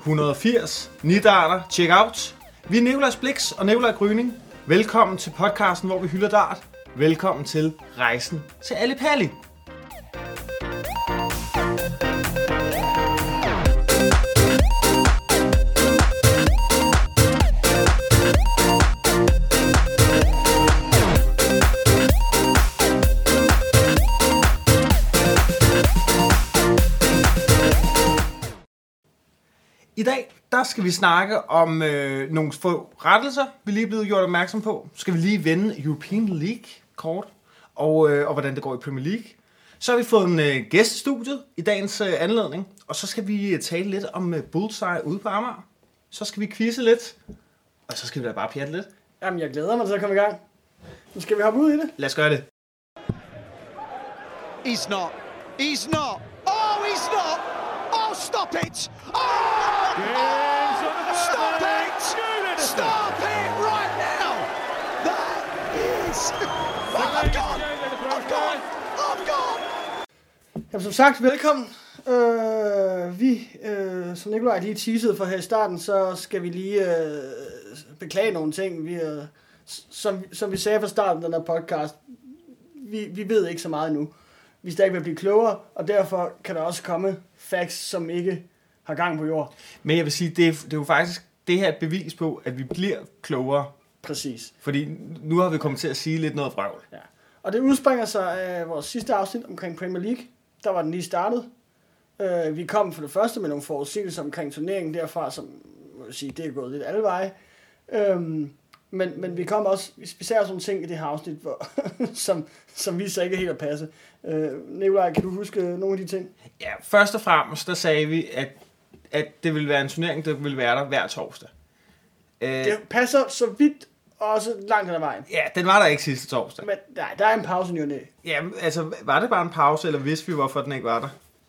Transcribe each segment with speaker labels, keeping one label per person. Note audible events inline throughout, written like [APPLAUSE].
Speaker 1: 180, Nidarter, Check Out. Vi er Nikolajs Blix og Nikolaj Gryning. Velkommen til podcasten, hvor vi hylder dart. Velkommen til Rejsen til Ali Pali. I dag, der skal vi snakke om øh, nogle få rettelser, vi lige er blevet gjort opmærksom på. Så skal vi lige vende European League kort, og, øh, og hvordan det går i Premier League. Så har vi fået en øh, gæst i studiet i dagens øh, anledning, og så skal vi øh, tale lidt om øh, Bullseye ude på Amager. Så skal vi quizze lidt, og så skal vi da bare pjatte lidt.
Speaker 2: Jamen, jeg glæder mig til at komme i gang. Nu skal vi hoppe ud i det.
Speaker 1: Lad os gøre det.
Speaker 3: He's not. He's not. Oh, he's not. Oh, stop it. Oh! Stop it. Stop it right now. That is. [LAUGHS] Oh, I've gone. I've gone. I've gone.
Speaker 2: Jamen, som sagt, velkommen. Øh, vi, øh, som Nikolaj lige teasede for her i starten, så skal vi lige øh, beklage nogle ting. Vi, øh, s- som, som vi sagde fra starten af den her podcast, vi, vi ved ikke så meget nu. Vi er stadig ved at blive klogere, og derfor kan der også komme facts, som ikke har gang på jord.
Speaker 1: Men jeg vil sige, det er, det er jo faktisk det her er et bevis på, at vi bliver klogere.
Speaker 2: Præcis.
Speaker 1: Fordi nu har vi kommet til at sige lidt noget vrøvl.
Speaker 2: Ja. Og det udspringer sig af vores sidste afsnit omkring Premier League. Der var den lige startet. Øh, vi kom for det første med nogle forudsigelser omkring turneringen derfra, som må jeg sige, det er gået lidt alle veje. Øhm, men, men vi kom også, vi især sådan nogle ting i det her afsnit, hvor, [LAUGHS] som, som vi så ikke er helt at passe. Øh, Nikolaj, kan du huske nogle af de ting?
Speaker 1: Ja, først og fremmest, der sagde vi, at, at det ville være en turnering, der ville være der hver torsdag. Øh,
Speaker 2: Det passer så vidt og også langt hen ad vejen.
Speaker 1: Ja, den var der ikke sidste torsdag.
Speaker 2: Men nej, der er en pause i ny og næ.
Speaker 1: Ja, altså, var det bare en pause, eller vidste vi, hvorfor den ikke var der?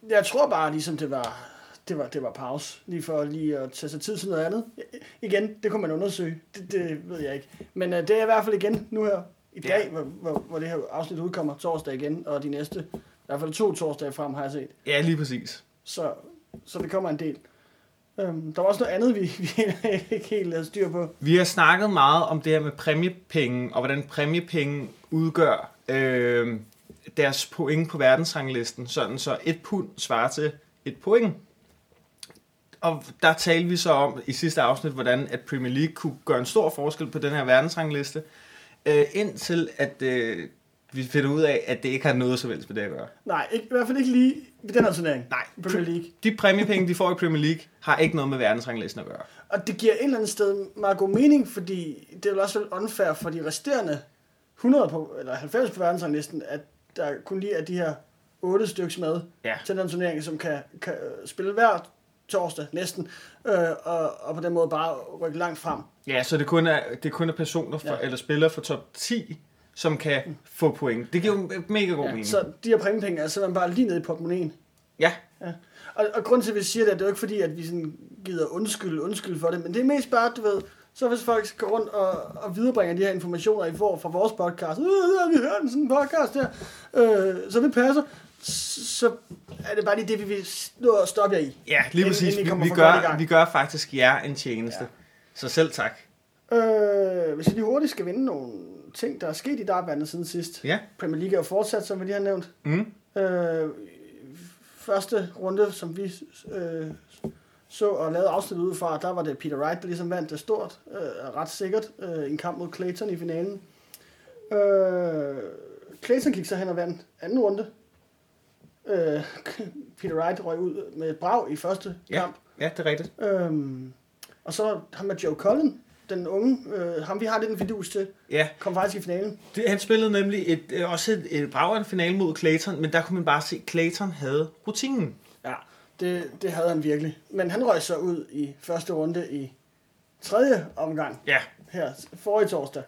Speaker 2: Jeg tror bare, ligesom det var, det var, det var pause, lige for lige at tage sig tid til noget andet. I- Igen, det kunne man undersøge, det, det ved jeg ikke. Men øh, det er i hvert fald igen nu her, i
Speaker 1: Ja.
Speaker 2: dag, hvor, hvor, hvor det her afsnit udkommer, torsdag igen, og de næste, i hvert fald to torsdage frem, har jeg set.
Speaker 1: Ja, lige præcis.
Speaker 2: Så, så det kommer en del. Øhm, der var også noget andet, vi, [LAUGHS] vi ikke helt havde styr på.
Speaker 1: Vi har snakket meget om det her med præmiepenge, og hvordan præmiepenge udgør øh, deres point på verdensranglisten, sådan så et pund svarer til et point. Og der talte vi så om i sidste afsnit, hvordan at Premier League kunne gøre en stor forskel på den her verdensrangliste, øh, indtil at øh, vi finder ud af, at det ikke har noget som helst med det at gøre.
Speaker 2: Nej, ikke, i hvert fald ikke lige ved den her turnering.
Speaker 1: Nej.
Speaker 2: Premier League.
Speaker 1: De præmiepenge, de får i Premier League, har ikke noget med verdensranglisten at gøre.
Speaker 2: Og det giver et eller andet sted meget god mening, fordi det er jo også lidt unfair for de resterende 100 på, eller 90 på verdensranglisten, at der kun lige er de her 8 stykker med
Speaker 1: Ja.
Speaker 2: til den turnering, som kan, kan øh, spille hver torsdag næsten, øh, og, og på den måde bare rykke langt frem.
Speaker 1: Ja, så det kun er, det kun er personer for, ja.
Speaker 2: Ja.
Speaker 1: eller spillere fra top 10, som kan mm. få point. Det giver jo mega god ja, mening. Så...
Speaker 2: Så de her præmiepenge er simpelthen bare lige nede i portemonnaien.
Speaker 1: Ja,
Speaker 2: Ja. Og, og grunden til, at vi siger det, det er jo ikke fordi, at vi sådan gider undskyld, undskyld for det, men det er mest bare, du ved, så hvis folk går rundt og, og viderebringer de her informationer, I får fra vores podcast, øh, øh, vi hører en sådan podcast der, øh, så det passer, s- så er det bare lige det, vi vil nå at stoppe jer i.
Speaker 1: ja lige
Speaker 2: Inden-
Speaker 1: præcis.
Speaker 2: inden I
Speaker 1: Vi,
Speaker 2: kommer
Speaker 1: vi,
Speaker 2: for godt i
Speaker 1: gør,
Speaker 2: gang.
Speaker 1: vi gør faktisk jer en tjeneste. Ja.
Speaker 2: Ja.
Speaker 1: Så selv tak.
Speaker 2: Øh, hvis vi lige hurtigt skal vinde nogle ting, der er sket i dartbandet siden sidst.
Speaker 1: Ja.
Speaker 2: Premier League er jo fortsat, som vi lige har nævnt.
Speaker 1: Mm.
Speaker 2: Øh, første runde, som vi øh, så og lavede afsnit ud fra, der var det Peter Wright, der ligesom vandt det stort, øh, ret sikkert, øh, en kamp mod Clayton i finalen. Øh, Clayton gik så hen og vandt anden runde. Øh, [LAUGHS] Peter Wright røg ud med et brag i første
Speaker 1: Ja,
Speaker 2: kamp.
Speaker 1: ja det er rigtigt.
Speaker 2: Øhm, og så ham med Joe Cullen, den unge, øh, ham vi har lidt en fidus til,
Speaker 1: Ja,
Speaker 2: kom faktisk i finalen.
Speaker 1: det, han spillede nemlig et, øh, også et, et bragerende finale mod Clayton, men der kunne man bare se, at Clayton havde rutinen.
Speaker 2: Ja, det, det havde han virkelig. Men han røg så ud i første runde i tredje omgang
Speaker 1: Ja,
Speaker 2: her forrige torsdag.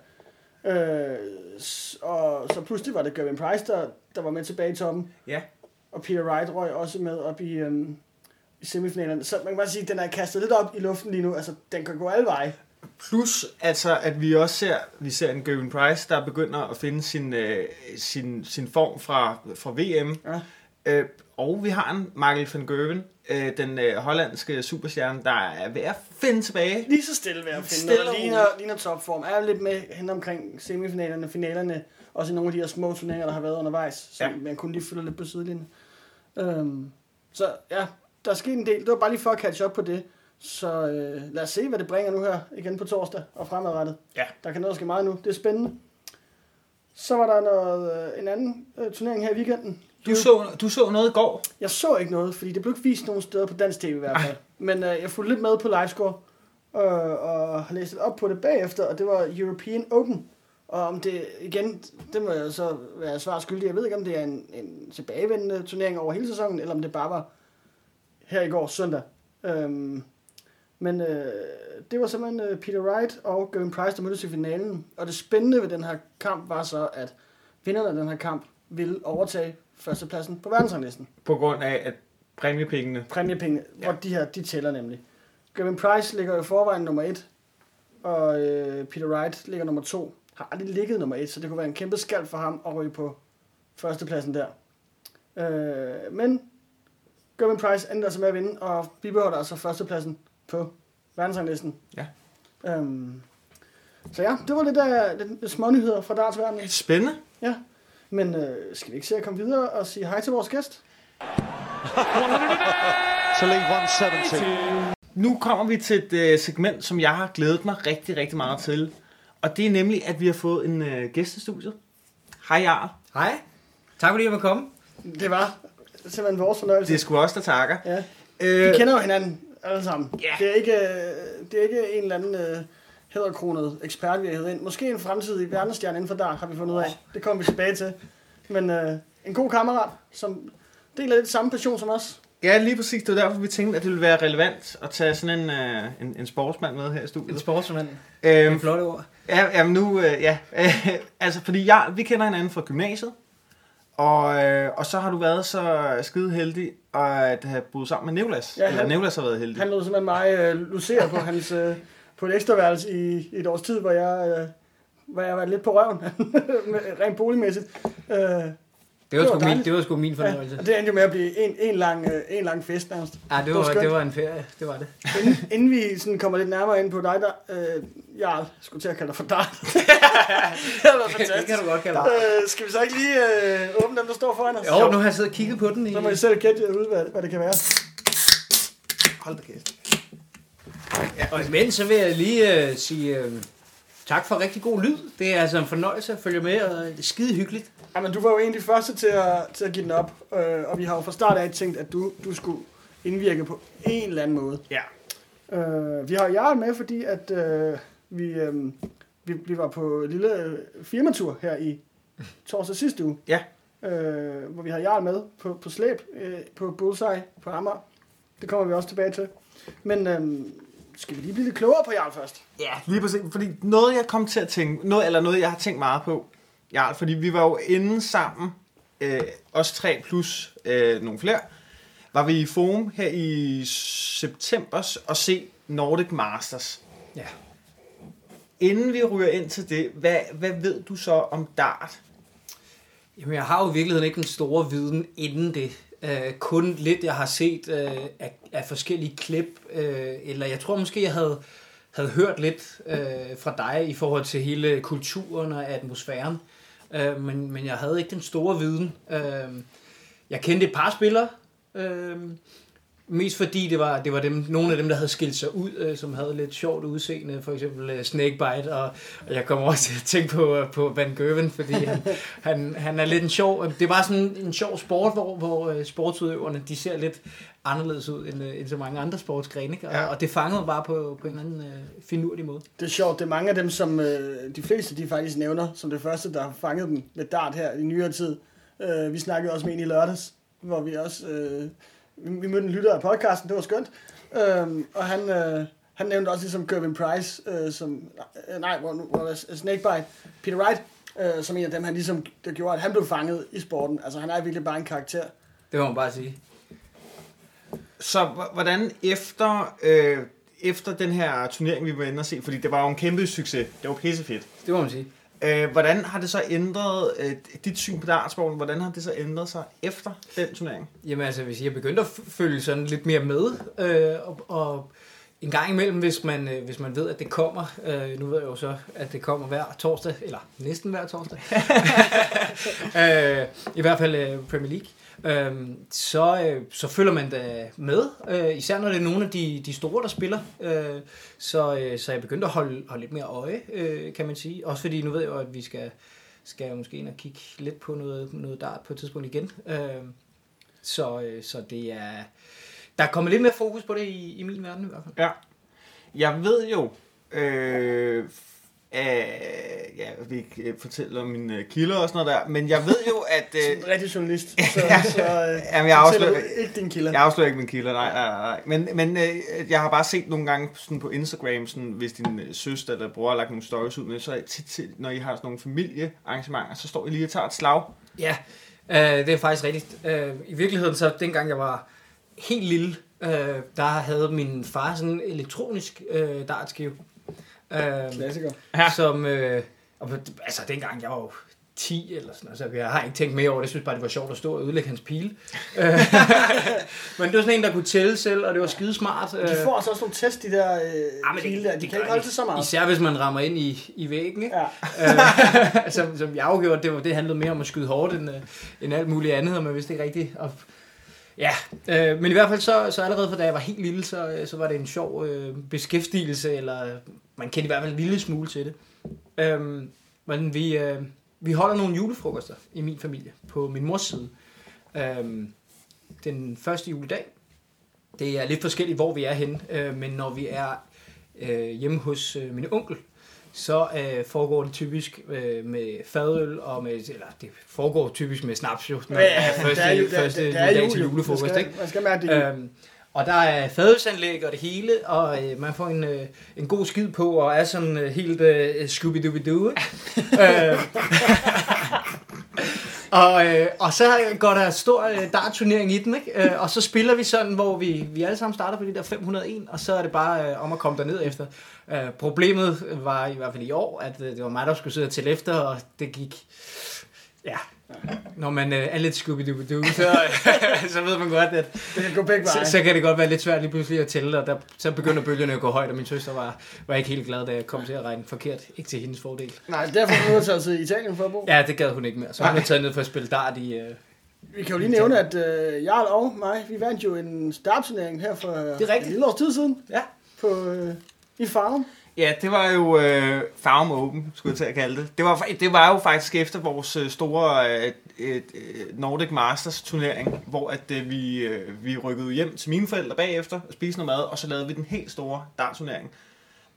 Speaker 2: Øh, s- og så pludselig var det Gavin Price, der, der var med tilbage i toppen.
Speaker 1: ja.
Speaker 2: Og Peter Wright røg også med op i, øhm, i semifinalerne. Så man kan bare sige, at den er kastet lidt op i luften lige nu. Altså, den kan gå alle veje.
Speaker 1: Plus altså, at vi også ser, vi ser en Gavin Price, der begynder at finde sin, øh, sin, sin form fra, fra VM.
Speaker 2: Ja.
Speaker 1: Øh, og vi har en Michael van Gerwen, øh, den øh, hollandske superstjerne, der er ved at finde tilbage.
Speaker 2: Lige så stille ved at finde
Speaker 1: Stille
Speaker 2: noget, der
Speaker 1: og
Speaker 2: ligner, ligner topform. Er lidt med hen omkring semifinalerne, finalerne, også i nogle af de her små turneringer, der har været undervejs, som
Speaker 1: Ja.
Speaker 2: ja. man kun lige følger lidt på sidelinjen. Øhm, så ja, der er sket en del. Det var bare lige for at catch op på det. Så øh, lad os se, hvad det bringer nu her igen på torsdag og fremadrettet.
Speaker 1: Ja.
Speaker 2: Der kan noget ske meget nu. Det er spændende. Så var der noget, øh, en anden øh, turnering her i weekenden.
Speaker 1: Du så, du så noget i går.
Speaker 2: Jeg så ikke noget, fordi det blev ikke vist nogen steder på dansk tv i hvert fald. Men øh, jeg fulgte lidt med på livescore, øh, og har læst lidt op på det bagefter, og det var European Open. Og om det, igen, det må jeg så være svar skyldig. Jeg ved ikke, om det er en, en tilbagevendende turnering over hele sæsonen, eller om det bare var her i går søndag. Øhm, men øh, det var simpelthen øh, Peter Wright og Gavin Price, der mødtes i finalen. Og det spændende ved den her kamp var så, at vinderne af den her kamp ville overtage førstepladsen på verdensranglisten
Speaker 1: På grund af, at præmiepengene...
Speaker 2: præmiepenge, ja.
Speaker 1: Ja.
Speaker 2: hvor de her, de tæller nemlig. Gavin Price ligger jo i forvejen nummer et, og øh, Peter Wright ligger nummer to. Har aldrig ligget nummer et, så det kunne være en kæmpe skald for ham at ryge på førstepladsen der. Øh, men Gavin Price ender altså med at vinde, og bibeholder altså førstepladsen på verdensranglisten.
Speaker 1: Ja.
Speaker 2: Øhm, så ja, det var lidt af lidt, lidt smånyheder fra dartsverdenen.
Speaker 1: Spændende.
Speaker 2: Ja. Men øh, skal vi ikke se at komme videre og sige hej til vores gæst?
Speaker 3: to lead 170.
Speaker 1: Nu kommer vi til et øh, segment, som jeg har glædet mig rigtig, rigtig meget til. Og det er nemlig, at vi har fået en øh, gæstestudie. Hej, Jarl.
Speaker 4: Hej. Tak fordi jeg måtte komme.
Speaker 2: Det var simpelthen vores fornøjelse.
Speaker 1: Det er sgu også der takker.
Speaker 2: Ja.
Speaker 1: Øh,
Speaker 2: Vi kender jo hinanden alle sammen.
Speaker 1: Ja.
Speaker 2: Det, er ikke, øh, det er ikke en eller anden øh, hæderkronet ekspert, vi har hævet ind. Måske en fremtidig verdensstjerne inden for der, har vi fundet ud af. Det kommer vi tilbage til. Men øh, en god kammerat, som deler lidt samme passion som os.
Speaker 1: ja, lige præcis. Det var derfor, vi tænkte, at det ville være relevant at tage sådan en, øh, en, en sportsmand med her i
Speaker 4: En
Speaker 1: studiet.
Speaker 4: sportsmand.
Speaker 1: Øhm,
Speaker 4: En flot ord.
Speaker 1: Ja, jamen nu, øh, ja. [LAUGHS] Øh, altså, fordi jeg, vi kender hinanden fra gymnasiet, og, øh, og så har du været så skide heldig og at have boet sammen med Nicolas.
Speaker 2: Ja,
Speaker 1: Ja, Eller
Speaker 2: han-
Speaker 1: Nicolas har været heldig.
Speaker 2: Han lod simpelthen mig øh, lucere på, hans, øh, på et ekstraværelse i, i et års tid, hvor jeg, øh, hvor jeg var lidt på røven, [LAUGHS] med- rent boligmæssigt. Øh,
Speaker 4: Det
Speaker 2: det
Speaker 4: var,
Speaker 2: var
Speaker 4: sgu min,
Speaker 2: dejligt.
Speaker 4: det var sgu min
Speaker 2: ja,
Speaker 4: fornøjelse.
Speaker 2: og det endte jo med at blive en, en, lang, øh, en lang fest nærmest.
Speaker 4: Ja, Ah, det
Speaker 2: var
Speaker 4: var,
Speaker 2: skønt.
Speaker 4: det var en ferie. Det var det.
Speaker 2: inden, inden vi sådan kommer lidt nærmere ind på dig, der, øh, Jarl, jeg skulle til at kalde dig for dig.
Speaker 4: [LAUGHS]
Speaker 2: det har været
Speaker 4: det kan
Speaker 2: fantastisk.
Speaker 4: du godt kalde det.
Speaker 2: Øh, skal vi så ikke lige øh, åbne dem, der står foran os?
Speaker 4: Jo, nu har jeg siddet og kigget på den i...
Speaker 2: Så må I selv gætte ud, hvad, hvad det kan være.
Speaker 4: Hold da kæft. Ja, og imens så vil jeg lige øh, sige øh, tak for rigtig god lyd. Det er altså en fornøjelse at følge med, og det er skide hyggeligt.
Speaker 2: Jamen, du var jo en af de første til at, til at give den op, øh, og vi har jo fra start af tænkt, at du, du skulle indvirke på en eller anden måde.
Speaker 1: Ja.
Speaker 2: Øh, vi har Jarl med, fordi at øh, vi, øh, vi, vi var på en lille øh, firmatur her i torsdag sidste uge.
Speaker 1: Ja.
Speaker 2: Øh, hvor vi har Jarl med på, på slæb, øh, på Bullseye, på Amager. Det kommer vi også tilbage til. Men øh, skal vi lige blive lidt klogere på Jarl først?
Speaker 1: Ja, lige præcis. Fordi noget, jeg kom til at tænke, noget, eller noget, jeg har tænkt meget på, ja, fordi vi var jo inde sammen, øh, os tre plus øh, nogle flere, var vi i Forum her i september og se Nordic Masters.
Speaker 4: Ja.
Speaker 1: Inden vi ryger ind til det, hvad, hvad ved du så om dart?
Speaker 4: Jamen, jeg har jo i virkeligheden ikke den store viden inden det. Øh, kun lidt, jeg har set øh, af, af forskellige klip, øh, eller jeg tror måske, jeg havde, havde hørt lidt øh, fra dig i forhold til hele kulturen og atmosfæren. Øh, men, men jeg havde ikke den store viden. Øh, jeg kendte et par spillere, øh, mest fordi det var, det var dem, nogle af dem, der havde skilt sig ud, øh, som havde lidt sjovt udseende, for eksempel øh, Snakebite, og, og jeg kommer også til at tænke på, øh, på Van Gerwen, fordi [LAUGHS] han, han, han er lidt en sjov, øh, det er bare sådan en sjov sport, hvor, hvor øh, sportsudøverne, de ser lidt anderledes ud end, øh, end så mange andre sportsgrene, ikke? Og,
Speaker 1: Ja.
Speaker 4: ja. og det fangede mig bare på, på en eller anden øh, finurlig måde.
Speaker 2: Det er sjovt, det er mange af dem, som øh, de fleste de faktisk nævner, som det første, der har fanget dem med dart her i nyere tid. Øh, vi snakkede også med en i lørdags, hvor vi også øh, vi, vi mødte en lytter af podcasten, det var skønt. Øh, og han, øh, han nævnte også ligesom Gervin Price, øh, som, øh, nej, hvor, nu- hvor var det? Snakebite, Peter Wright, øh, som en af dem, han ligesom, der gjorde, at han blev fanget i sporten. Altså han er virkelig bare en karakter.
Speaker 4: Det må man bare sige.
Speaker 1: Så h- hvordan efter, øh, efter den her turnering, vi var inde og se, fordi det var jo en kæmpe succes, det var pissefedt.
Speaker 4: Det må man sige.
Speaker 1: Øh, hvordan har det så ændret øh, dit syn på dartsbogen? Hvordan har det så ændret sig efter den turnering?
Speaker 4: Jamen altså, hvis jeg begyndte at f- følge sådan lidt mere med, øh, og, og en gang imellem, hvis man, øh, hvis man ved, at det kommer, øh, nu ved jeg jo så, at det kommer hver torsdag, eller næsten hver torsdag, øh, i hvert fald øh, Premier League, øh, så, øh, så følger man da med, øh, især når det er nogle af de, de store, der spiller. Øh, så, øh, så jeg begyndte at holde, holde lidt mere øje, øh, kan man sige. Også fordi nu ved jeg jo, at vi skal, skal jeg måske ind og kigge lidt på noget, noget dart på et tidspunkt igen. Øh, så, øh, så det er... Der er kommet lidt mere fokus på det i, i min verden i hvert fald.
Speaker 1: Ja. Jeg ved jo, øh, øh, ja, jeg vil ikke øh, fortælle om mine øh, kilder og sådan noget der, men jeg ved jo, at...
Speaker 2: Som
Speaker 1: Øh,
Speaker 2: en
Speaker 1: [LAUGHS]
Speaker 2: rigtig journalist, så, så øh,
Speaker 1: Jamen, jeg
Speaker 2: fortæller
Speaker 1: afslører-
Speaker 2: du ikke din kilder.
Speaker 1: jeg afslører ikke mine kilder, nej, nej, nej. Men, men øh, jeg har bare set nogle gange sådan på Instagram, sådan, hvis din øh, søster eller bror har lagt nogle stories ud med, så er jeg tit, tit, når I har sådan nogle familiearrangementer, så står I lige og tager et slag.
Speaker 4: Ja, øh, det er faktisk rigtigt. Øh, I virkeligheden så, dengang jeg var helt lille, øh, der havde min far sådan en elektronisk øh, dartskive. Øh,
Speaker 2: Klassiker.
Speaker 1: Ja.
Speaker 4: som, øh, og, på- altså dengang jeg var jo 10 eller sådan noget, så jeg har ikke tænkt mere over det, jeg synes bare, det var sjovt at stå og ødelægge hans pile. Øh, [LAUGHS] men det var sådan en, der kunne tælle selv, og det var skidesmart. øh.
Speaker 2: Men de får altså også nogle test, de der øh,
Speaker 4: Ah, men
Speaker 2: pile der. De kan
Speaker 4: gør
Speaker 2: ikke holde til så meget.
Speaker 4: Især hvis man rammer ind i, i væggen, ikke?
Speaker 2: Ja.
Speaker 4: øh, [LAUGHS] som, som jeg afgjorde, det, var, det handlede mere om at skyde hårdt end, øh, end alt muligt andet, og man vidste ikke rigtigt. Og, ja, øh, men i hvert fald så, så allerede fra da jeg var helt lille, så, øh, så var det en sjov øh, beskæftigelse, eller øh, man kendte i hvert fald en lille smule til det. Øh, men vi, øh, vi holder nogle julefrokoster i min familie, på min mors side. Øh, den første juledag, det er lidt forskelligt, hvor vi er henne, øh, men når vi er øh, hjemme hos øh, min onkel, så øh, foregår det typisk øh, med fadøl og med, eller det foregår typisk med snaps jo, når det er første,
Speaker 2: der er jo- der-
Speaker 4: første
Speaker 2: der- der er
Speaker 4: juledag
Speaker 2: jul,
Speaker 4: til
Speaker 2: jo. Man
Speaker 4: julefrokost,
Speaker 2: skal-
Speaker 4: ikke?
Speaker 2: Man skal mærke det. er jul.
Speaker 4: Øhm, og der er fadelsanlæg og det hele, og øh, man får en, øh, en god skid på, og er sådan øh, helt øh, scooby-dooby-doo. ikke? øh, [LAUGHS] og, øh, og så går der stor øh, dartturnering i den, ikke? Øh, og så spiller vi sådan, hvor vi, vi alle sammen starter på de der 501, og så er det bare øh, om at komme derned efter. Øh, problemet var i hvert fald i år, at øh, det var mig, der skulle sidde og tælle efter, og det gik... Ja, når man øh, er lidt scooby-dooby-doo, så, [LAUGHS] så ved man godt, at
Speaker 2: Det kan gå begge veje.
Speaker 4: så, så kan det godt være lidt svært lige pludselig at tælle, og der, så begynder bølgerne at gå højt, og min søster var, var ikke helt glad, da jeg kom til at regne forkert. Ikke til hendes fordel.
Speaker 2: Nej, derfor er vi nødt til at sidde i Italien for at bo.
Speaker 4: Ja, det gad hun ikke mere, så hun blev taget ned for at spille dart i... Øh...
Speaker 2: Vi kan jo lige nævne, at øh, Jarl og mig, vi vandt jo en startturnering her for øh,
Speaker 4: Det er rigtigt.
Speaker 2: en lille års tid siden
Speaker 4: Ja.
Speaker 2: på, øh, i Farum.
Speaker 1: Ja, det var jo øh, Farm Open, skulle jeg til at kalde det. Det var, fa- det var jo faktisk efter vores øh, store øh, øh, Nordic Masters turnering, hvor at, øh, vi, øh, vi rykkede hjem til mine forældre bagefter og spiste noget mad, og så lavede vi den helt store dartturnering.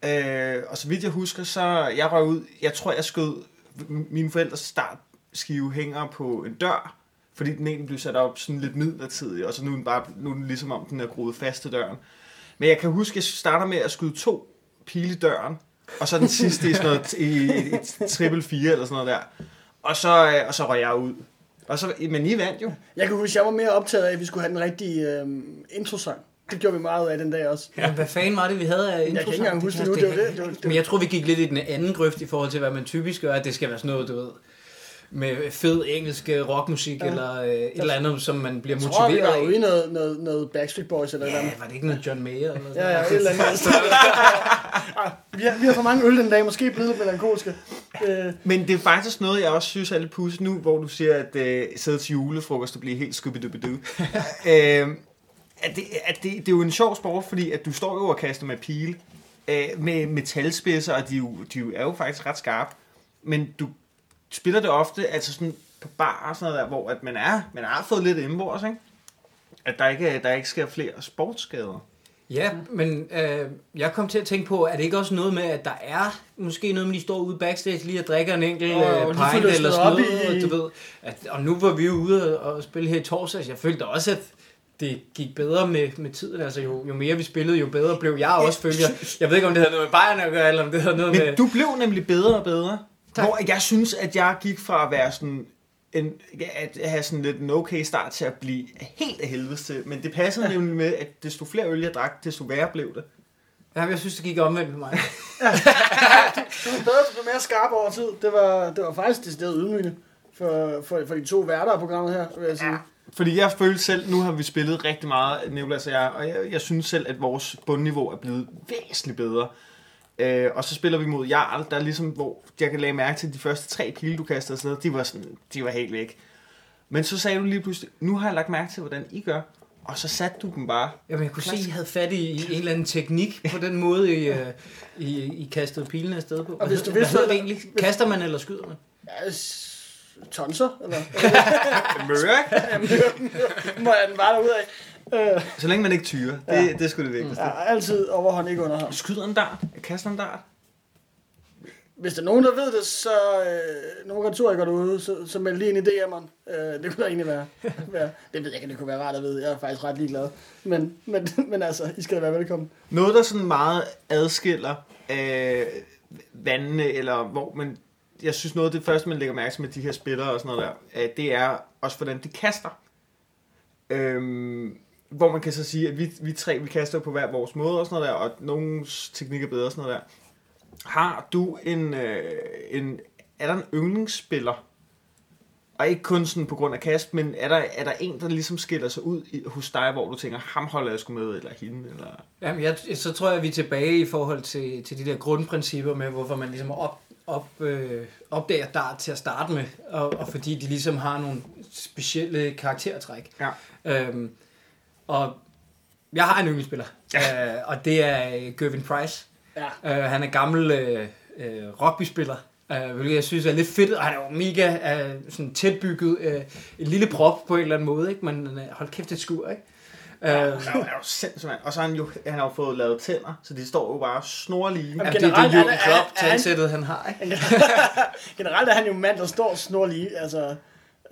Speaker 1: Øh, og så vidt jeg husker, så jeg røg ud, jeg tror jeg skød m- mine forældres startskive hænger på en dør, fordi den egentlig blev sat op sådan lidt midlertidigt, og så nu er den, bare, nu er den ligesom om den er groet fast til døren. Men jeg kan huske, at jeg starter med at skyde to pile i døren, og så den sidste i sådan noget, i, i, i triple fire eller sådan noget der. Og så, øh, og så røg jeg ud. Og så, men I vandt jo.
Speaker 2: Jeg kan huske, at jeg var mere optaget af, at vi skulle have den rigtige øh, introsang. Det gjorde vi meget ud af den dag også.
Speaker 4: ja. Hvad fanden var det, vi havde af intro?
Speaker 2: Jeg kan ikke engang huske det nu, det var det. det, var, det
Speaker 4: Men
Speaker 2: var.
Speaker 4: jeg tror, vi gik lidt i den anden grøft i forhold til, hvad man typisk gør, at det skal være sådan noget, du ved, med fed engelsk øh, rockmusik, ja. eller øh, et eller andet, som man bliver
Speaker 2: Jeg tror, vi
Speaker 4: motiveret
Speaker 2: var ude i
Speaker 4: af.
Speaker 2: noget, noget, noget Backstreet Boys eller noget.
Speaker 4: Ja, var det ikke noget John Mayer? Eller
Speaker 2: Ja,
Speaker 4: sådan
Speaker 2: ja, et eller andet. Ah, vi, har, vi har for mange øl den dag, måske blevet lidt melankolske. Øh,
Speaker 1: Men det er faktisk noget, jeg også synes er lidt pudsigt nu, hvor du siger, at øh, sidde til julefrokost og blive helt skubbedubbedu. øh, at det, at det, det er jo en sjov sport, fordi at du står jo og kaster med pile, øh, med metalspidser, og de, er jo, de er jo- er jo faktisk ret skarpe. Men du spiller det ofte, altså sådan på bar og sådan noget der, hvor at man, er, man har fået lidt indbords, ikke? At der ikke, der ikke sker flere sportsskader.
Speaker 4: Ja, men øh, jeg kom til at tænke på, er det ikke også noget med, at der er måske noget med, de står ude backstage lige og drikker en enkelt
Speaker 2: Åh,
Speaker 4: øh,
Speaker 2: lige
Speaker 4: pint
Speaker 2: får løsnet
Speaker 4: eller sådan
Speaker 2: op
Speaker 4: noget,
Speaker 2: i-
Speaker 4: og du ved. At, og nu var vi jo ude og, og spille her i torsdags, jeg følte også, at det gik bedre med, med tiden. Altså, jo, jo mere vi spillede, jo bedre blev jeg også følger. Jeg ved ikke, om det havde noget med Bayern at gøre, eller om det havde noget med...
Speaker 1: Men du blev nemlig bedre og bedre.
Speaker 4: Tak.
Speaker 1: Tak. Hvor jeg synes, at jeg gik fra at være sådan en, at have sådan lidt en okay start til at blive helt af helvede til. Men det passede nemlig med, at desto flere øl jeg drak, desto værre blev det.
Speaker 4: Ja, jeg synes, det gik omvendt for mig.
Speaker 2: Du er bedre, du blev mere skarp over tid. Det var, det var faktisk det sted ydmygende for, for, for de to værter af programmet her, vil jeg sige. Ja.
Speaker 1: Fordi jeg følte selv, nu har vi spillet rigtig meget, Nicolas og jeg, og jeg, jeg synes selv, at vores bundniveau er blevet væsentligt bedre. Øh, og så spiller vi mod Jarl, der er ligesom, hvor jeg kan lage mærke til, at de første tre pile, du kastede afsted, de var, sådan, de var helt væk. Men så sagde du lige pludselig, nu har jeg lagt mærke til, hvordan I gør. Og så satte du dem bare.
Speaker 4: Jamen, jeg kunne se, at I havde fat i, i en eller anden teknik på den måde, I, øh, I, I kastede pilene afsted på. Hvad
Speaker 2: hvis du
Speaker 4: hedder-
Speaker 2: vidste,
Speaker 4: hvad hedder det egentlig? Kaster man eller skyder man?
Speaker 2: Ja, s- tonser, eller
Speaker 1: Mørk!
Speaker 2: [LAUGHS] må jeg den bare derude af? Øh,
Speaker 1: Så længe man ikke tyrer. Det,
Speaker 2: Ja. Mm.
Speaker 1: ja. det er sgu det vigtigste.
Speaker 2: ja, altid overhånd, ikke underhånd.
Speaker 1: Skyder en dart? Kaster en dart?
Speaker 2: Hvis der er nogen, der ved det, så øh, nogle retorikere derude, så, så meld lige ind i DM'eren. Øh, det kunne da egentlig være, være. Det ved jeg ikke, om det kunne være rart at vide. Jeg er faktisk ret ligeglad. Men, men, men altså, I skal da være velkommen.
Speaker 1: Noget, der sådan meget adskiller øh, vandene, eller hvor man... Jeg synes, noget af det første, man lægger mærke til med de her spillere og sådan noget der, øh, det er også, hvordan de kaster. Øhm, hvor man kan så sige, at vi, vi tre, vi kaster på hver vores måde og sådan noget der, og nogens teknik er bedre og sådan noget der. Har du en... Øh, en er der en yndlingsspiller? Og ikke kun sådan på grund af kast, men er der, er der en, der ligesom skiller sig ud i, hos dig, hvor du tænker, ham holder jeg sgu med, eller hende, eller...
Speaker 4: Jamen, jeg, så tror jeg, at vi er tilbage i forhold til, til de der grundprincipper med, hvorfor man ligesom op, op, øh, opdager dart til at starte med, og, og fordi de ligesom har nogle specielle karaktertræk.
Speaker 1: Ja.
Speaker 4: Øhm, og jeg har en yndlingsspiller, ja. øh, og det er øh, Gervin Price.
Speaker 2: Ja.
Speaker 4: Øh, han er gammel øh, øh, rugbyspiller, øh, hvilket jeg synes er lidt fedt, og han er jo mega øh, sådan tætbygget, øh, en lille prop på en eller anden måde, ikke? men øh, hold kæft, det er et skur, ikke? Øh,
Speaker 1: Han er jo sindssygt, mand. Og så har han jo han har jo fået lavet tænder, så de står jo bare snorlige.
Speaker 4: Ja,
Speaker 1: Ja.
Speaker 4: det, det er
Speaker 2: generelt
Speaker 4: Jürgen
Speaker 2: er- er-
Speaker 4: Klopp
Speaker 2: er han-
Speaker 4: talsættet, han har. Ikke?
Speaker 2: [LAUGHS] Generelt er han jo en mand, der står snorlige, altså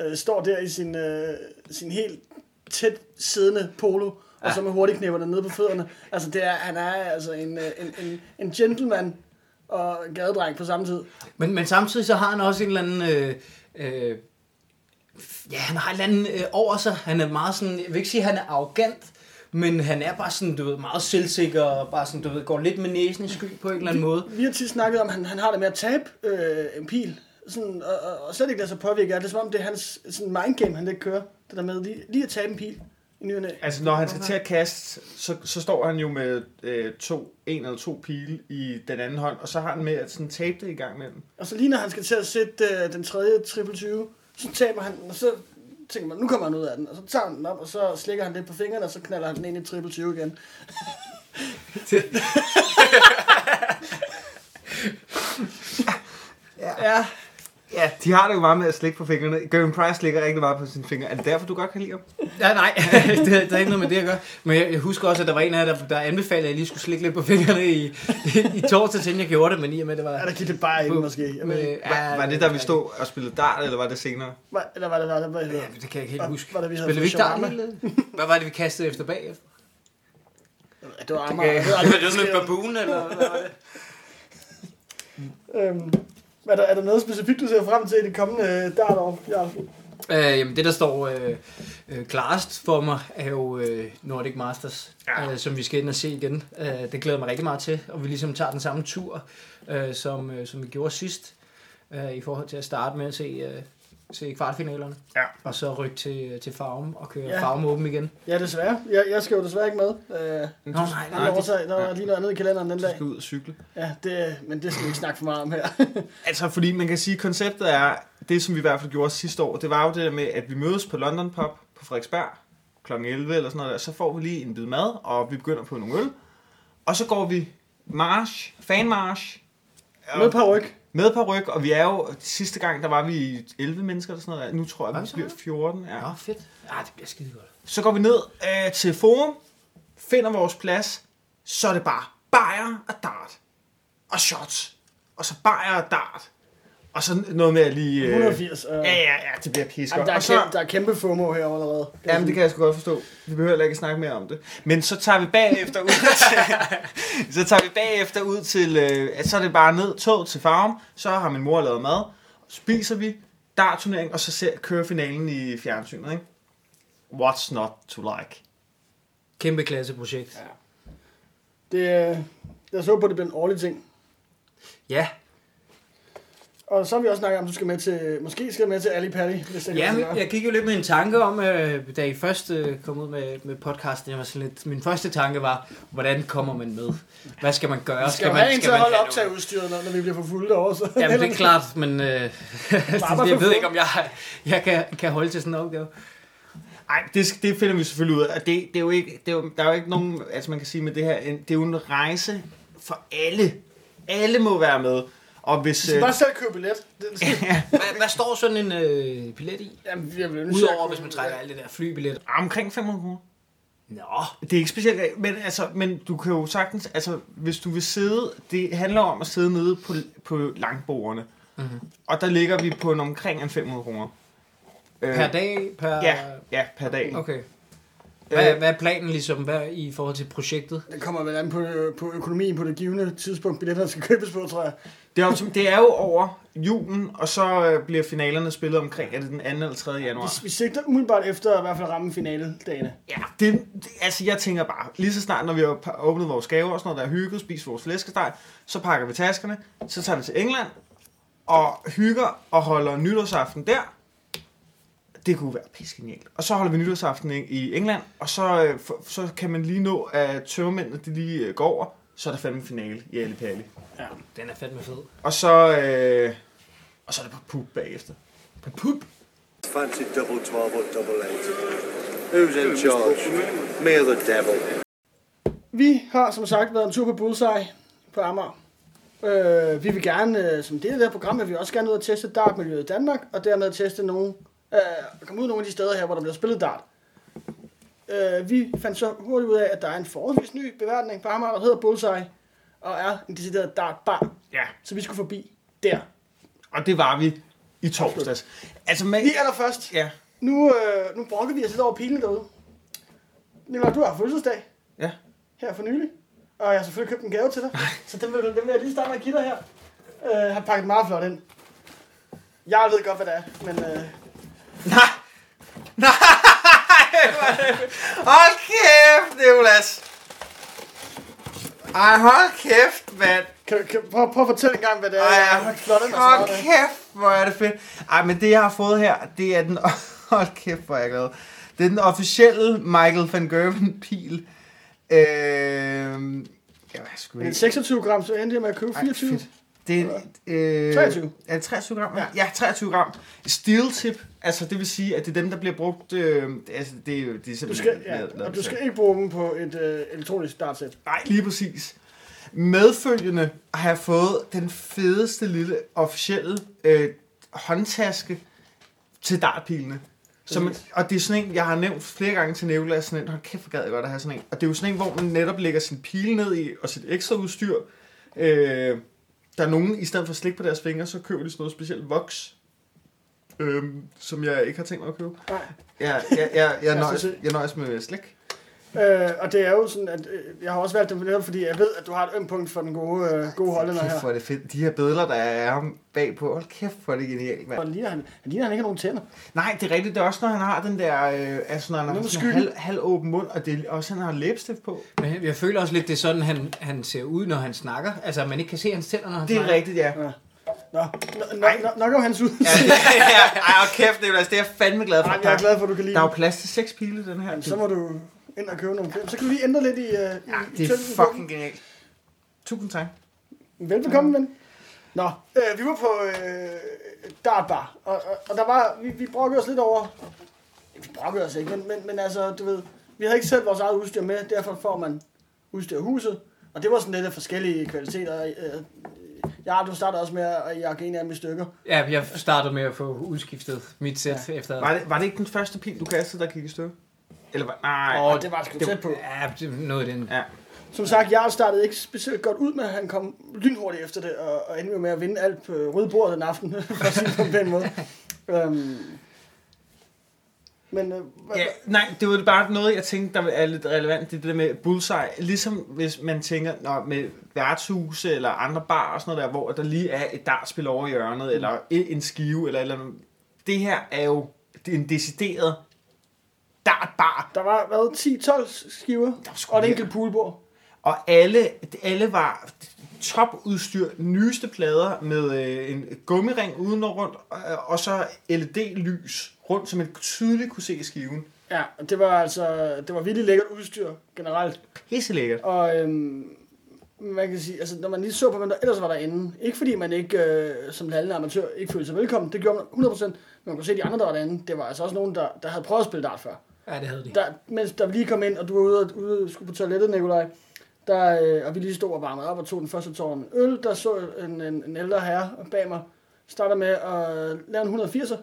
Speaker 2: øh, står der i sin, øh, sin helt tæt siddende polo, og så med hurtigknæpperne nede på fødderne. Altså, det er, han er altså en, øh, en, en, en gentleman og gadedreng på samme tid.
Speaker 4: Men, men samtidig så har han også en eller anden... Øh, øh, ja, han har en eller anden øh, over sig. Han er meget sådan... Jeg vil ikke sige, at han er arrogant, men han er bare sådan, du ved, meget selvsikker, og bare sådan, du ved, går lidt med næsen i sky på en eller anden måde.
Speaker 2: Vi har tit snakket om, at han, han har det med at tabe øh, en pil, sådan, og, og, og slet ikke lade sig påvirke af det. Det er som om, det er hans sådan mindgame, han lidt kører, det der med lige, lige at tabe en pil i ny og næ.
Speaker 1: Altså, når han skal til at kaste, så, så står han jo med øh, to, en eller to pile i den anden hånd, og så har han med at sådan tape det i gang med dem.
Speaker 2: Og så lige når han skal til at sætte øh, den tredje triple 20, så taber han den, og så tænker man, nu kommer han ud af den. Og så tager han den op, og så slikker han lidt på fingrene, og så knaller han den ind i triple 20 igen. ja. ja.
Speaker 1: Ja. De har det jo bare med at slikke på fingrene. Gavin Price ligger rigtig meget på sine fingre. Er det derfor, du godt kan lide ham?
Speaker 4: Ja, nej, [LAUGHS] det, det er ikke noget med det at gøre. Men jeg, jeg husker også, at der var en af jer, der, der anbefalede, at jeg lige skulle slikke lidt på fingrene i, i, i torsdags, inden jeg gjorde det, men i og med, det var... Øh,
Speaker 2: Ja, der gik det bare ind, måske. Jeg ved, ikke.
Speaker 1: Var, var det, der vi stod og spillede dart, eller var det senere?
Speaker 2: Var- eller var det, var det, var det,
Speaker 4: Ja, det kan jeg ikke helt
Speaker 2: Var-
Speaker 4: huske.
Speaker 2: var det, vi havde
Speaker 4: Spillede vi ikke
Speaker 2: fået
Speaker 4: der? Hvad var det, vi kastede efter bag?
Speaker 2: det var Amager. [LAUGHS] Det var,
Speaker 4: det sådan et baboon, eller hvad var det?
Speaker 2: Øhm, er, der, er der noget specifikt, du ser frem til i det kommende øh, dartår? Ja.
Speaker 4: Øh, jamen, det, der står øh, øh, klarest for mig, er jo øh, Nordic Masters, ja. øh, som vi skal ind og se igen. Øh, det glæder jeg mig rigtig meget til, og vi ligesom tager den samme tur, øh, som, øh, som vi gjorde sidst, øh, i forhold til at starte med at se, øh, se kvartfinalerne,
Speaker 1: Ja.
Speaker 4: og så rykke til, til Farum og køre
Speaker 2: Ja.
Speaker 4: ja. Farum åben igen.
Speaker 2: ja, desværre. Jeg, jeg skal jo desværre ikke med. Øh,
Speaker 1: Men
Speaker 4: Nå,
Speaker 1: du-
Speaker 4: nej,
Speaker 2: der, er
Speaker 1: nej,
Speaker 2: en årsag, der var lige noget andet i kalenderen den
Speaker 1: du
Speaker 2: dag.
Speaker 1: skal ud og cykle.
Speaker 2: Ja, det, men det skal vi ikke snakke for meget om her.
Speaker 1: Altså, fordi man kan sige, at konceptet er, det som vi i hvert fald gjorde sidste år, det var jo det der med, at vi mødes på London Pub på Frederiksberg kl. 11 eller sådan noget der, så får vi lige en bid mad, og vi begynder på nogle øl, og så går vi march, fanmarch,
Speaker 2: [LAUGHS] Med par ryg.
Speaker 1: med på ryg, og vi er jo, sidste gang, der var vi 11 mennesker eller sådan noget der, nu tror jeg,
Speaker 4: Var
Speaker 1: vi
Speaker 4: vi så
Speaker 1: bliver 14, ja.
Speaker 4: Nå, fedt. Ah, det bliver skide godt.
Speaker 1: Så går vi ned øh, til forum, finder vores plads, så er det bare bajer og dart. Og shots. Og så bajer og dart. Og så noget med at lige... Øh,
Speaker 2: 180. Øh.
Speaker 1: Ja, ja, ja, det bliver pisse
Speaker 2: Jamen,
Speaker 1: godt.
Speaker 2: der,
Speaker 1: Og
Speaker 2: er kæmpe,
Speaker 1: så,
Speaker 2: der er kæmpe FOMO her allerede.
Speaker 1: jamen, det kan jeg sgu godt forstå. Vi behøver heller ikke snakke mere om det. Men så tager vi bagefter
Speaker 2: [LAUGHS]
Speaker 1: ud til, så tager vi bagefter ud til, øh, at så er det bare ned tog til farm, så har min mor lavet mad, spiser vi, der er turnering, og så ser, kører finalen i fjernsynet, ikke? What's not to like?
Speaker 4: Kæmpe klasseprojekt.
Speaker 2: Det, øh, Jeg så på, at det blev en årlig ting.
Speaker 4: Ja,
Speaker 2: Og så har vi også snakket om, at du skal med til, måske skal du med til Ali Pally, hvis det
Speaker 4: ja
Speaker 2: kan
Speaker 4: men
Speaker 2: være.
Speaker 4: jeg gik jo lidt med en tanke om, øh, da I først øh, kom ud med, med podcasten, jeg var sådan lidt, min første tanke var, hvordan kommer man med? Hvad skal man gøre?
Speaker 2: skal, skal jo
Speaker 4: man,
Speaker 2: have en til at holde
Speaker 4: have
Speaker 2: optag
Speaker 4: noget?
Speaker 2: udstyret, når, når vi bliver for fulde derovre. Så.
Speaker 4: Jamen, det er klart, men øh, [LAUGHS] jeg ved ikke, om jeg, jeg kan, kan holde til sådan en opgave.
Speaker 1: Nej, det, sk- det finder vi selvfølgelig ud af. Og Det, det er jo ikke, det er jo, der er jo ikke nogen, altså man kan sige med det her, en- det er jo en rejse for alle. Alle må være med. Og hvis,
Speaker 2: Du skal
Speaker 1: øh,
Speaker 2: bare selv købe billet. Det, det skal,
Speaker 4: Hvad, hvad står sådan en øh, billet i?
Speaker 2: [LAUGHS] jamen, jeg vil ønske, jeg
Speaker 4: Udover
Speaker 2: kunne-
Speaker 4: hvis man trækker alle det der flybillet.
Speaker 1: omkring 500 kroner.
Speaker 4: Nå,
Speaker 1: øh, Det er ikke specielt, men, altså, men du kan jo sagtens, altså hvis du vil sidde, det handler om at sidde nede på, på langbordene.
Speaker 4: Mhm.
Speaker 1: Og der ligger vi på en omkring en 500 kroner. Øh,
Speaker 4: per dag, per...
Speaker 1: Ja, ja, per dag.
Speaker 4: Okay. Hvad,
Speaker 1: Øh,
Speaker 4: hvad er planen ligesom, hvad i forhold til projektet?
Speaker 2: Det kommer vel an på, øh, på økonomien på det givende tidspunkt, billetterne skal købes på, tror jeg.
Speaker 1: Det er, jo, som- det er jo over julen, og så øh, bliver finalerne spillet omkring, er det den 2. eller 3. januar?
Speaker 2: Vi, vi sigter umiddelbart efter at i hvert fald ramme finaledagene.
Speaker 1: Ja, det, det, altså jeg tænker bare, lige så snart, når vi har pa- åbnet vores gaver og sådan noget, der er hygget, spist vores flæskesteg, så pakker vi taskerne, så tager vi til England og hygger og holder nytårsaften der. Det kunne være pissegenialt. Og så holder vi nytårsaften i- i England, og så, øh, f- så kan man lige nå, at tørmændene de lige øh, går over, så er der fandme finale i Ali Pali.
Speaker 4: Den er fandme fed.
Speaker 1: Og så, øh, og så er det på pub bagefter. På pub?
Speaker 5: Fancy double twelve or double eight. Who's in charge? Me or the devil?
Speaker 2: Vi har som sagt været en tur på Bullseye på Amager. Øh, vi vil gerne, øh, som del af det her program, vil vi også gerne ud og teste dartmiljøet i Danmark, og dermed teste nogle, øh, komme ud nogle af de steder her, hvor der bliver spillet dart. Øh, vi fandt så hurtigt ud af, at der er en forholdsvis ny beværtning på Amager, der hedder Bullseye, og er en decideret dartbar.
Speaker 1: Ja,
Speaker 2: Så vi skulle forbi der.
Speaker 1: og det var vi i torsdags. Altså, man,
Speaker 2: Lige allerførst,
Speaker 1: ja,
Speaker 2: nu, øh, nu brokker vi os lidt over pilen derude. Nicolaj, du har fødselsdag.
Speaker 1: ja.
Speaker 2: her for nylig. Og jeg har selvfølgelig købt en gave til dig. Så den vil, den vil jeg lige starte med at give dig her. Øh, har pakket meget flot ind. Jeg ved godt, hvad det er, men øh,
Speaker 1: Nej! Nej! Hold kæft, Nicolas! Ej, hold kæft, mand!
Speaker 2: kan, kan, prøv, prøv at fortælle en gang, hvad det er.
Speaker 1: Ej,
Speaker 2: jeg har
Speaker 1: hold
Speaker 2: pakket flot ind og sådan
Speaker 1: hold
Speaker 2: noget.
Speaker 1: kæft, hvor er det fedt. Ej, men det, jeg har fået her, det er den... [LAUGHS] Hold kæft, hvor er jeg glad. Det er den officielle Michael van Gerwen-pil. Øh... Jeg var sgu
Speaker 2: Men
Speaker 1: ikke...
Speaker 2: 26 gram, så endte jeg med at købe
Speaker 1: Ej,
Speaker 2: 24.
Speaker 1: fedt. Det er, øh,
Speaker 2: 23.
Speaker 1: Er det 23 gram? Ja.
Speaker 2: Ja.
Speaker 1: ja, 23 gram. Steel tip, altså det vil sige, at det er dem, der bliver brugt... Øh, altså det, er jo- det er simpelthen...
Speaker 2: du skal,
Speaker 1: lavet-
Speaker 2: ja,
Speaker 1: lavet
Speaker 2: og du
Speaker 1: selv.
Speaker 2: skal ikke bruge dem på et øh, elektronisk startsæt.
Speaker 1: Nej, lige præcis. Medfølgende har jeg fået den fedeste lille officielle øh, håndtaske til dartpilene. Som,
Speaker 2: Præcis.
Speaker 1: og det er sådan en, jeg har nævnt flere gange til Nicolas, sådan en, hold kæft, hvor gad jeg godt at have sådan en. Og det er jo sådan en, hvor man netop lægger sin pile ned i, og sit ekstra udstyr. Øh, der er nogen, i stedet for slik på deres fingre, så køber de sådan noget specielt voks, øh, som jeg ikke har tænkt mig at købe.
Speaker 2: Nej.
Speaker 1: Jeg, jeg, jeg, jeg,
Speaker 2: så
Speaker 1: nøjes,
Speaker 2: sød.
Speaker 1: jeg nøjes med slik.
Speaker 2: Øh, og det er jo sådan, at øh, jeg har også valgt dem netop, fordi jeg ved, at du har et ømt punkt for den gode, øh, gode hollænder
Speaker 1: Kæft,
Speaker 2: her.
Speaker 1: hvor er det fedt. De her billeder, der er ham bagpå. Hold kæft, hvor er det genialt,
Speaker 2: Og
Speaker 1: mand.
Speaker 2: han ligner, han, han ligner, han ikke har nogen tænder.
Speaker 1: Nej, det er rigtigt. Det er også, når han har den der... Øh, altså, når han har
Speaker 2: Nogle Altså,
Speaker 1: sådan en
Speaker 2: skygge.
Speaker 1: halv, halv åben mund, og det er også, han har læbestift på.
Speaker 4: Men jeg føler også lidt, det er sådan, han, han ser ud, når han snakker. Altså, at man ikke kan se hans tænder, når han
Speaker 1: Det er
Speaker 4: snakker.
Speaker 1: rigtigt, ja.
Speaker 2: Ja. Nå, no, no, no, nok om hans ud.
Speaker 1: [LAUGHS] ja, det, ja. Ej, hold kæft, det er, altså, det er jeg fandme glad for.
Speaker 2: Ej, jeg er glad for, at du kan lide
Speaker 1: Der er
Speaker 2: dem.
Speaker 1: jo plads til seks pile, den her.
Speaker 2: Jamen, så må du ind og købe nogle film. Så kan du lige ændre lidt i, uh, ja, i
Speaker 1: Det er
Speaker 2: tyngden på dem.
Speaker 1: fucking genialt. Tusind tak.
Speaker 2: Velbekomme, ven. Nå, øh, vi var på øh, dartbar, og, og, og der var, vi, vi brokkede os lidt over, vi brokkede os ikke, men, men, men altså, du ved, vi havde ikke selv vores eget udstyr med, derfor får man udstyr i huset, og det var sådan lidt af forskellige kvaliteter. Øh, ja, du startede også med at jakke en af dem i stykker.
Speaker 4: Ja, jeg startede med at få udskiftet mit sæt ja. efter...
Speaker 1: Var det, var det ikke den første pil, du kastede, der gik i stykker? Eller var, nej.
Speaker 2: Og det var sgu
Speaker 1: det-
Speaker 2: tæt på.
Speaker 4: Ja, det er noget i den.
Speaker 1: Ja.
Speaker 2: Som sagt, Jarl startede ikke specielt godt ud, men han kom lynhurtigt efter det, og, og endte jo med at vinde alt på røde bord den aften, [LAUGHS] for at sige det på en pæn måde. Øhm, men øh, hvad-
Speaker 1: Ja, nej, det var bare noget, jeg tænkte, der er lidt relevant, det er det der med bullseye. Ligesom hvis man tænker, når med værtshuse eller andre bar og sådan noget der, hvor der lige er et dartspil over i hjørnet, mm. eller en en skive, eller, et eller andet. Det her er jo det er en decideret dartbar.
Speaker 2: der var hvad, 10-12 skiver,
Speaker 1: var sgu
Speaker 2: og et
Speaker 1: mere.
Speaker 2: enkelt poolbord.
Speaker 1: Og alle, alle var topudstyr, nyeste plader med øh, en gummiring udenover rundt, og, og så LED-lys rundt, som man tydeligt kunne se i skiven.
Speaker 2: Ja, og det var altså, det var virkelig lækkert udstyr generelt.
Speaker 1: Pisse lækkert.
Speaker 2: Og øhm, man kan sige, altså når man lige så på, hvem der ellers var derinde, ikke fordi man ikke øh, som lallende amatør ikke følte sig velkommen, det gjorde man 100%, men man kunne se de andre, der var derinde, det var altså også nogen, der, der havde prøvet at spille dart før.
Speaker 4: Ja, det havde de.
Speaker 2: Der, mens der lige kom ind, og du var ude og, ude, skulle på toilettet, Nikolaj, der, øh, og vi lige stod og varmede op og tog den første tår af en øl, der så en, en, en ældre herre bag mig, starter med at lave en 180'er,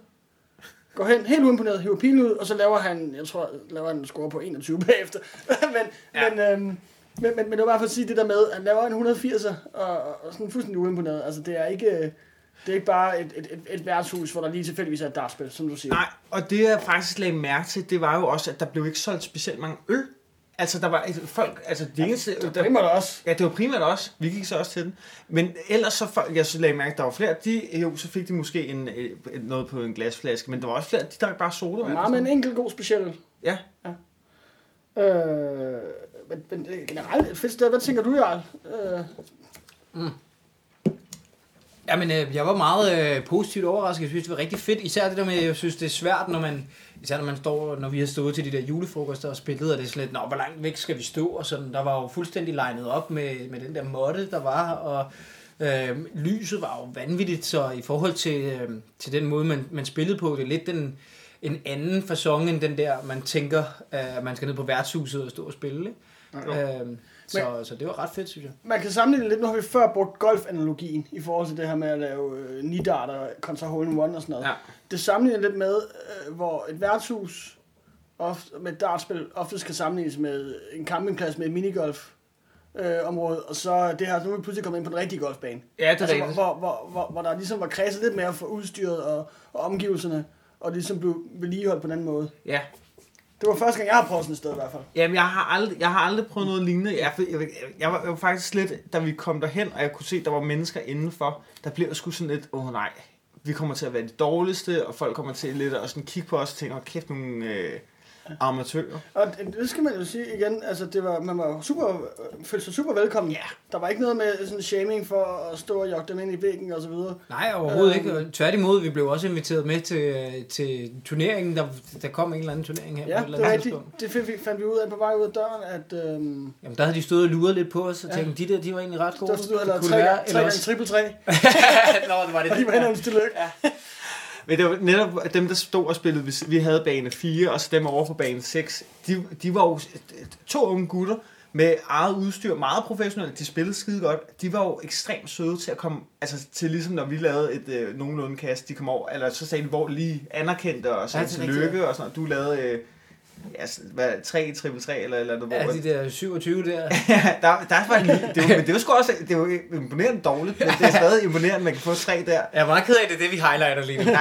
Speaker 2: går hen helt uimponeret, hiver pilen ud, og så laver han, jeg tror, laver han en score på 21 bagefter. [LAUGHS] men, ja. men, øhm, men, men, men, det var bare for at sige det der med, at han laver en 180'er, og, og sådan fuldstændig uimponeret. Altså, det er ikke, øh, det er ikke bare et, et, et, et værtshus, hvor der lige tilfældigvis er et dartspil, som du siger.
Speaker 1: Nej, og det jeg faktisk lagde mærke til, det var jo også, at der blev ikke solgt specielt mange øl. Altså, der var et, folk, altså det eneste...
Speaker 2: Det var primært også.
Speaker 1: Ja, det var primært også. Vi gik så også til den. Men ellers så folk, jeg så lagde mærke, at der var flere, de, jo, så fik de måske en, øh, noget på en glasflaske, men der var også flere, de drak bare soda. eller
Speaker 2: Meget
Speaker 1: sådan
Speaker 2: med en enkelt god speciel.
Speaker 1: Ja.
Speaker 2: Øh, men, men øh, generelt et fedt sted. Hvad tænker du, Jarl? Øh,
Speaker 4: Jamen, øh, jeg var meget øh, positivt overrasket. Jeg synes, det var rigtig fedt. Især det der med, at jeg synes, det er svært, når man, især når man står, når vi har stået til de der julefrokoster og spillet, og det er sådan lidt, nå, hvor langt væk skal vi stå? Og sådan, der var jo fuldstændig legnet op med, med den der måtte, der var, og øh, lyset var jo vanvittigt, så i forhold til, øh, til den måde, man, man spillede på, det er lidt den, en anden fasong end den der, man tænker, øh, at man skal ned på værtshuset og stå og spille. Ikke? Øh, så, så det var ret fedt, synes jeg.
Speaker 2: man kan sammenligne lidt. Nu har vi før brugt golfanalogien i forhold til det her med at lave øh, nidarter kontra hole in one og sådan noget.
Speaker 1: Ja.
Speaker 2: Det sammenligner lidt med, øh, hvor et værtshus ofte, med et dartspil ofte skal sammenlignes med en campingplads med et minigolf. Øh, område, og så det her, nu er vi pludselig kommet ind på den rigtige golfbane.
Speaker 1: Ja, det er
Speaker 2: altså, hvor,
Speaker 1: rigtigt.
Speaker 2: hvor, hvor, hvor, hvor, der ligesom var kredset lidt mere for udstyret og, og omgivelserne, og ligesom blev vedligeholdt på en anden måde.
Speaker 1: Ja.
Speaker 2: Det var første gang, jeg har prøvet sådan et sted i hvert fald.
Speaker 1: Jamen, jeg har aldrig, jeg har aldrig prøvet noget lignende. Jeg, jeg, jeg, jeg, var, jeg var faktisk lidt, da vi kom derhen, og jeg kunne se, der var mennesker indenfor, der blev jeg sgu sådan lidt, åh oh, nej, vi kommer til at være de dårligste, og folk kommer til lidt at sådan kigge på os og tænke, åh kæft, nogle øh, amatører.
Speaker 2: Og det- det skal man jo sige igen, altså det var, man var super, øh, følte sig super velkommen.
Speaker 1: Ja.
Speaker 2: Der var ikke noget med sådan shaming for at stå og jogge dem ind i væggen og så videre.
Speaker 4: Nej, overhovedet
Speaker 2: Øhm.
Speaker 4: øhm. ikke. Tværtimod, vi blev også inviteret med til, øh, til turneringen. Der, der kom en eller anden turnering her
Speaker 2: Ja,
Speaker 4: på et
Speaker 2: det
Speaker 4: eller
Speaker 2: er
Speaker 4: andet
Speaker 2: rigtigt.
Speaker 4: tidspunkt.
Speaker 2: Det fik- fandt vi ud af på vej ud af døren, at øhm,
Speaker 4: Jamen, der havde de stået og luret lidt på os og
Speaker 2: Ja.
Speaker 4: tænkte, de der, de var egentlig ret gode.
Speaker 2: der stod
Speaker 4: Det
Speaker 2: eller
Speaker 4: kunne
Speaker 2: tre,
Speaker 4: være,
Speaker 2: gange- tre
Speaker 4: eller
Speaker 2: gange
Speaker 4: også-
Speaker 2: triple tre,
Speaker 4: Nå, det var det.
Speaker 2: og [LAUGHS] de var henholdt til lykke. Ja.
Speaker 1: Men det var netop dem, der stod og spillede, hvis vi havde bane 4, og så dem over på bane 6, de, de var jo to unge gutter med eget udstyr, meget professionelle, de spillede skide godt. De var jo ekstremt søde til at komme, altså til ligesom når vi lavede et øh, nogenlunde kast, de kom over, eller så sagde de, hvor lige anerkendte og sagde
Speaker 4: Ja, det
Speaker 1: til
Speaker 4: er
Speaker 1: lykke og sådan noget. Du lavede øh, ja, s- hvad, 3, triple 3 eller et eller andet, hvor...
Speaker 4: Ja, de der 27 der.
Speaker 1: Ja, der, der var en, lille- det var, men det var sgu også, det var imponerende dårligt, men
Speaker 4: [LAUGHS]
Speaker 1: det er stadig imponerende, at man kan få tre der.
Speaker 4: [LAUGHS] Jeg er meget ked af det, er det vi highlighter lige nu.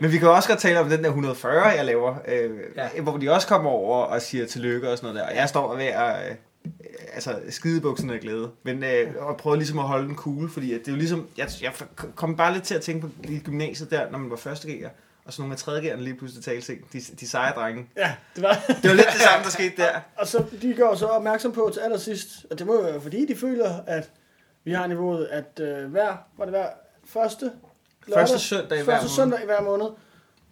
Speaker 1: Men vi kan jo også godt tale om den der 140, jeg laver, øh, ja.
Speaker 4: Ja.
Speaker 1: hvor de også kommer over og siger tillykke og sådan noget der. Og jeg står ved at øh, altså, skide i bukserne af glæde, men, øh, og prøver ligesom at holde den cool, fordi at det er jo ligesom, jeg, jeg kom bare lidt til at tænke på i gymnasiet der, når man var første G'er, og så nogle af tredje G'erne lige pludselig talte ting, de, de seje drenge.
Speaker 2: ja, det var
Speaker 1: Det var lidt det samme, der skete der.
Speaker 2: Og så de gør så opmærksom på til allersidst, og det må jo være fordi, de føler, at vi har niveauet, at øh, hver, var det hver første, lørdag,
Speaker 1: Første søndag i hver
Speaker 2: første
Speaker 1: måned.
Speaker 2: søndag i hver måned,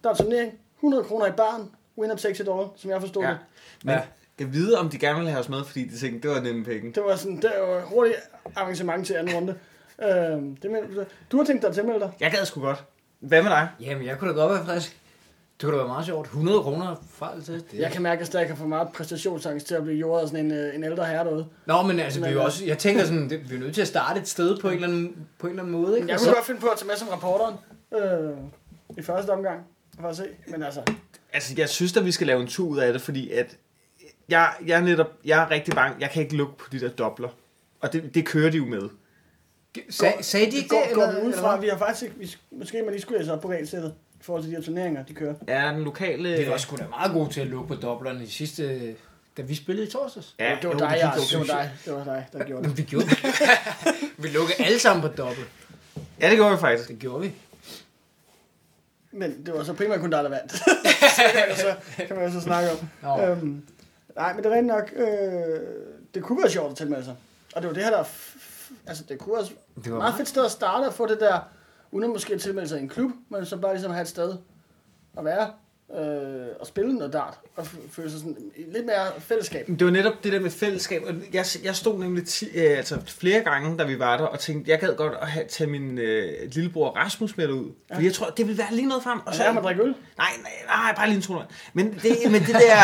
Speaker 2: der er turnering, 100 kroner i barn, winner takes it all, som jeg forstod ja.
Speaker 1: Ja.
Speaker 2: det.
Speaker 1: Men
Speaker 4: Ja.
Speaker 1: jeg vide, om de gerne ville have os med, fordi de tænkte, det var nemme penge.
Speaker 2: Det var sådan, det var hurtigt avancement til anden runde. øhm, det mener, du så. du har tænkt dig at tilmelde dig?
Speaker 1: Jeg gad sgu godt. Hvad med dig?
Speaker 4: Jamen, jeg kunne da godt være frisk. Det kunne da være meget sjovt. 100 kroner fra eller til. Det.
Speaker 2: Jeg kan mærke, at jeg stadig kan få meget præstationsangst til at blive jordet af sådan en, øh, en ældre herre derude.
Speaker 4: Nå, men altså, vi er jo
Speaker 2: Men-
Speaker 4: også, jeg tænker sådan, det, vi er nødt til at starte et sted på en eller anden, på en eller anden måde. Ikke?
Speaker 2: Jeg
Speaker 4: Og
Speaker 2: kunne
Speaker 4: så-
Speaker 2: godt finde på at tage med som reporteren øh, i første omgang, for at se. Men altså,
Speaker 1: Altså, jeg synes, at vi skal lave en tur ud af det, fordi at jeg, jeg, er netop, jeg er rigtig bange. Jeg kan ikke lukke på de der dobler. Og det, det kører de jo med.
Speaker 4: Sag, sagde de ikke
Speaker 2: går,
Speaker 4: det?
Speaker 2: går
Speaker 4: eller-
Speaker 2: vi ud
Speaker 4: eller
Speaker 2: fra,
Speaker 4: hvad?
Speaker 2: at vi har faktisk ikke, vi, sk- måske man lige skulle læse op på regelsættet i forhold til de her turneringer, de kører.
Speaker 1: Er den lokale...
Speaker 4: Vi var sgu da meget gode til at lukke på doblerne i sidste, da vi spillede i torsdags.
Speaker 1: Ja,
Speaker 2: det var
Speaker 1: jo,
Speaker 2: dig,
Speaker 1: det
Speaker 2: jeg,
Speaker 1: gik
Speaker 2: det
Speaker 1: jo.
Speaker 2: var dig, det var dig, der gjorde det.
Speaker 4: Men vi [LAUGHS] gjorde det. vi lukkede alle sammen på dobbelt.
Speaker 1: Ja, det gjorde vi faktisk.
Speaker 4: Det gjorde vi.
Speaker 2: Men det var så primært kun dig, der [LAUGHS] vandt. så kan man jo så snakke om.
Speaker 4: Nå.
Speaker 2: Øhm, nej, men det er rent nok, øh, det kunne være sjovt at tilmelde sig. Og det var det her, der... f- f- Altså, det kunne også
Speaker 4: Det
Speaker 2: det
Speaker 4: var
Speaker 2: var meget
Speaker 4: meget.
Speaker 2: fedt sted at starte og få det der, uden at måske tilmelde sig en klub, men så bare ligesom have et sted at være øh, og spille noget dart, og f- føle sig sådan lidt mere fællesskab.
Speaker 1: Det var netop det der med fællesskab, og jeg, jeg stod nemlig ti, øh, altså flere gange, da vi var der, og tænkte, jeg gad godt at have, tage min øh, lillebror Rasmus med derud. Ja. Fordi jeg tror, det ville være lige noget frem. Og
Speaker 2: Og
Speaker 1: så,
Speaker 2: så er man drikke øl.
Speaker 1: Nej, nej, nej, bare lige en toner. Men det, men det der,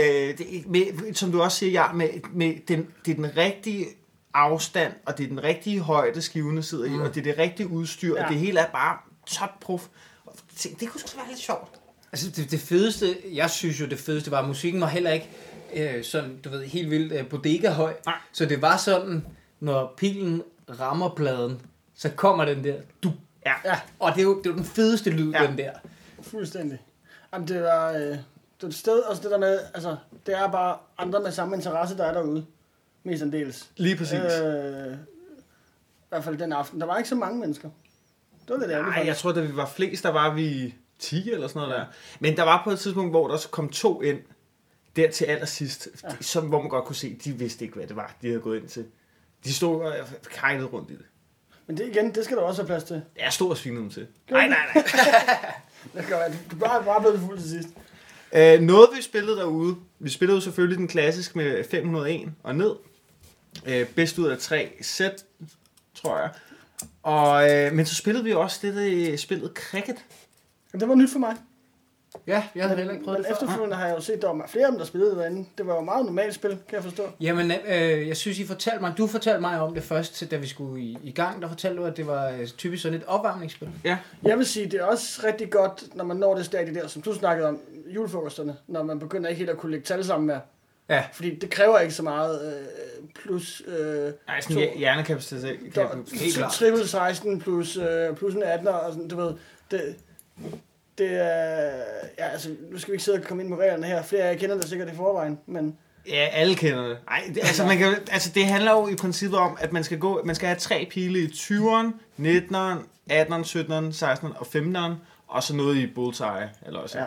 Speaker 1: øh, det, med, som du også siger, ja, med, med den, det er den rigtige afstand, og det er den rigtige højde, skivene sidder i, og det er det rigtige udstyr, Mm. ja.
Speaker 2: Ja.
Speaker 1: og det hele er bare topproof. Og tænkte, Det kunne sgu da være lidt sjovt.
Speaker 4: Altså det, det fedeste, jeg synes jo det fedeste var, at musikken var heller ikke øh, sådan, du ved, helt vildt øh, bodega-høj.
Speaker 1: Nej.
Speaker 4: Så det var sådan, når pilen rammer pladen, så kommer den der, du.
Speaker 1: Ja.
Speaker 2: Ja,
Speaker 4: Og det er jo, det er jo den fedeste lyd,
Speaker 1: Ja.
Speaker 4: ja. den der.
Speaker 2: fuldstændig. Jamen, det var... Øh, det var et sted, og så det der med, altså, det er bare andre med samme interesse, der er derude. Mest en dels.
Speaker 1: Lige præcis. Øh,
Speaker 2: Øh, I hvert fald den aften. Der var ikke så mange mennesker. Det var lidt ærgerligt.
Speaker 1: Nej,
Speaker 2: faktisk.
Speaker 1: jeg tror, da vi var flest, der var vi 10 eller sådan noget der. Men der var på et tidspunkt, hvor der så kom to ind, der til allersidst, ja. som, hvor man godt kunne se, de vidste ikke, hvad det var, de havde gået ind til. De stod og kejlede rundt i det.
Speaker 2: Men det igen, det skal der også have plads til.
Speaker 1: Jeg stod og svinede dem til. Nej, nej, nej.
Speaker 2: Det kan være, du bare, bare blevet fuld til sidst.
Speaker 1: [LAUGHS] Øh, noget vi spillede derude, vi spillede jo selvfølgelig den klassiske med 501 og ned. Øh, bedst ud af tre sæt, tror jeg. Og, øh, men så spillede vi også det, der øh, spillet cricket.
Speaker 2: Men det var nyt for mig.
Speaker 4: Ja, jeg havde heller ikke prøvet
Speaker 2: Men
Speaker 4: det før.
Speaker 2: efterfølgende har jeg jo set, at der var flere af dem, der spillede derinde. Det var jo meget normalt spil, kan jeg forstå.
Speaker 4: Jamen, øh, jeg synes, I fortalte mig, du fortalte mig om det først, da vi skulle i, i gang, der fortalte du, at det var øh, typisk sådan et opvarmningsspil.
Speaker 1: Ja.
Speaker 2: Jeg vil sige, det er også rigtig godt, når man når det stadie der, som du snakkede om, julefrokosterne, når man begynder ikke helt at kunne lægge tal sammen med.
Speaker 4: Ja.
Speaker 2: Fordi det kræver ikke så meget øh, plus øh,
Speaker 1: Nej, sådan hjer- hjernekapacitet.
Speaker 2: Der,
Speaker 1: kan-
Speaker 4: helt klart.
Speaker 2: triple 16 plus, øh, plus en 18 og sådan, du ved, det, det er, ja, altså, nu skal vi ikke sidde og komme ind på reglerne her, flere af jer kender det sikkert i forvejen, men
Speaker 1: Ja, alle kender det. Nej, det, altså, man kan, altså det handler jo i princippet om, at man skal, gå, man skal have tre pile i 20'eren, 19'eren, 18'eren, 17'eren, 16'eren og 15'eren, og så noget i bullseye, eller også.
Speaker 2: ja.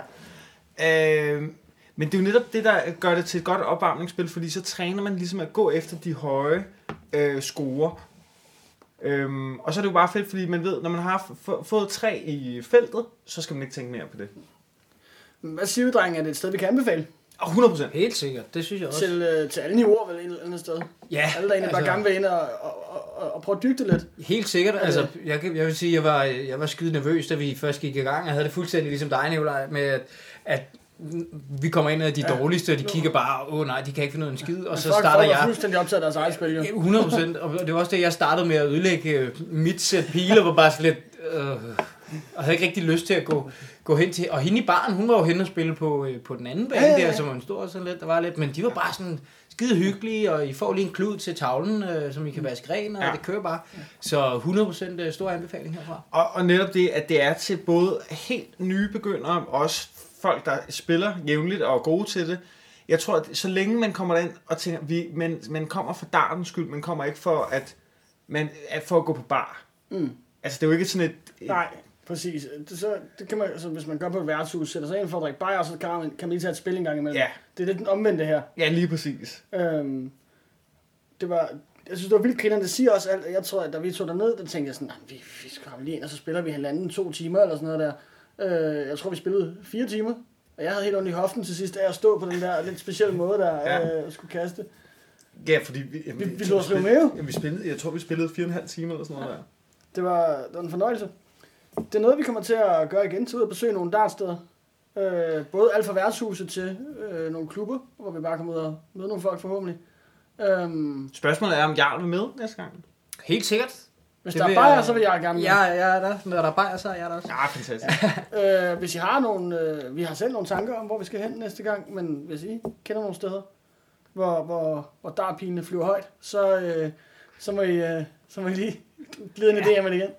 Speaker 1: Øh, men det er jo netop det, der gør det til et godt opvarmningsspil, fordi så træner man ligesom at gå efter de høje øh, score. Øhm, og så er det jo bare fedt, fordi man ved, når man har f- f- fået tre i feltet, så skal man ikke tænke mere på det.
Speaker 2: Hvad siger vi, drenge, er det et sted, vi kan anbefale?
Speaker 1: Og 100 procent.
Speaker 4: Helt sikkert, det synes jeg også.
Speaker 2: Til, øh, til alle niveauer, vel, et eller andet sted.
Speaker 4: ja, altså,
Speaker 2: Alle, der egentlig bare gerne vil ind og, og, og- og, og prøve at dybde det lidt.
Speaker 4: Helt sikkert. Altså, jeg, kan- jeg vil sige, jeg var, jeg var skide nervøs, da vi først gik i gang. Jeg havde det fuldstændig ligesom dig, Nicolaj, med at, at vi kommer ind af de ja. dårligste, og de kigger bare, åh nej, de kan ikke finde ud af en skid, og så
Speaker 2: Folk-
Speaker 4: starter
Speaker 2: folk er
Speaker 4: jeg.
Speaker 2: fuldstændig optaget af deres eget spil, jo.
Speaker 4: Ja, 100 procent, og det var også det, jeg startede med at ødelægge øh, mit sæt piler, var bare sådan lidt, øh, og havde ikke rigtig lyst til at gå, gå hen til, og hende i baren, hun var jo henne og spille på, øh, på den anden bane
Speaker 2: Ja,
Speaker 4: ja,
Speaker 2: ja,
Speaker 4: ja,
Speaker 2: ja.
Speaker 4: der, som var en stor sådan lidt, der var lidt, men de var bare sådan skide hyggelige, og I får lige en klud til tavlen, øh, som I kan vaske ren, og
Speaker 1: Ja.
Speaker 4: ja. det kører bare. Så 100 procent øh, stor anbefaling herfra.
Speaker 1: Og, og netop det, at det er til både helt nye begyndere, og også folk, der spiller jævnligt og er gode til det. Jeg tror, at så længe man kommer derind og tænker, vi, man, man kommer for dartens skyld, man kommer ikke for at, man, at, for at gå på bar.
Speaker 2: Mm.
Speaker 1: Altså, det er jo ikke sådan et...
Speaker 2: Nej, præcis. Det, så, det kan man, altså, hvis man går på et værtshus, sætter sig ind for at drikke bajer, så kan man, kan man lige tage et spil en gang imellem.
Speaker 1: Ja,
Speaker 2: Det er lidt den omvendte her.
Speaker 1: ja lige præcis.
Speaker 2: Øhm, det var, jeg synes, det var vildt grinerne. Det siger også alt. Jeg tror, at da vi tog derned, der tænkte jeg sådan, "Nå, men vi, vi skal komme lige ind, og så spiller vi halvanden, to timer eller sådan noget der. Øh, jeg tror, vi spillede fire timer. Og jeg havde helt ondt i hoften til sidst af at stå på den der lidt specielle måde, der
Speaker 1: Ja.
Speaker 2: ja. øh, skulle kaste.
Speaker 1: Ja, fordi vi... Jamen,
Speaker 2: Vi- vi
Speaker 1: jeg tror,
Speaker 2: lå os rive
Speaker 1: spillede-
Speaker 2: med.
Speaker 1: Jamen, vi spillede, jeg tror, vi spillede fire og en halv time eller sådan noget der.
Speaker 2: Det var, det var en fornøjelse. Det er noget, vi kommer til at gøre igen, til ud at besøge nogle dartsteder. Øh, både alt fra værtshuset til øh, nogle klubber, hvor vi bare kommer ud og møde nogle folk forhåbentlig. Øhm,
Speaker 1: Spørgsmålet er, om Jarl vil med næste gang?
Speaker 4: Helt sikkert.
Speaker 2: hvis
Speaker 4: Det
Speaker 2: det der er
Speaker 4: vil
Speaker 2: bajer,
Speaker 4: jeg-
Speaker 2: så vil jeg gerne med.
Speaker 4: Ja, jeg er der. Når der er bajer, så er jeg der også.
Speaker 1: Ja, fantastisk.
Speaker 2: Øh, hvis I har nogle, øh, vi har selv nogle tanker om, hvor vi skal hen næste gang, men hvis I kender nogle steder, hvor, hvor, hvor dartpilene flyver højt, så, øh, så, må I, øh, så må I lige glide en idé om det igen.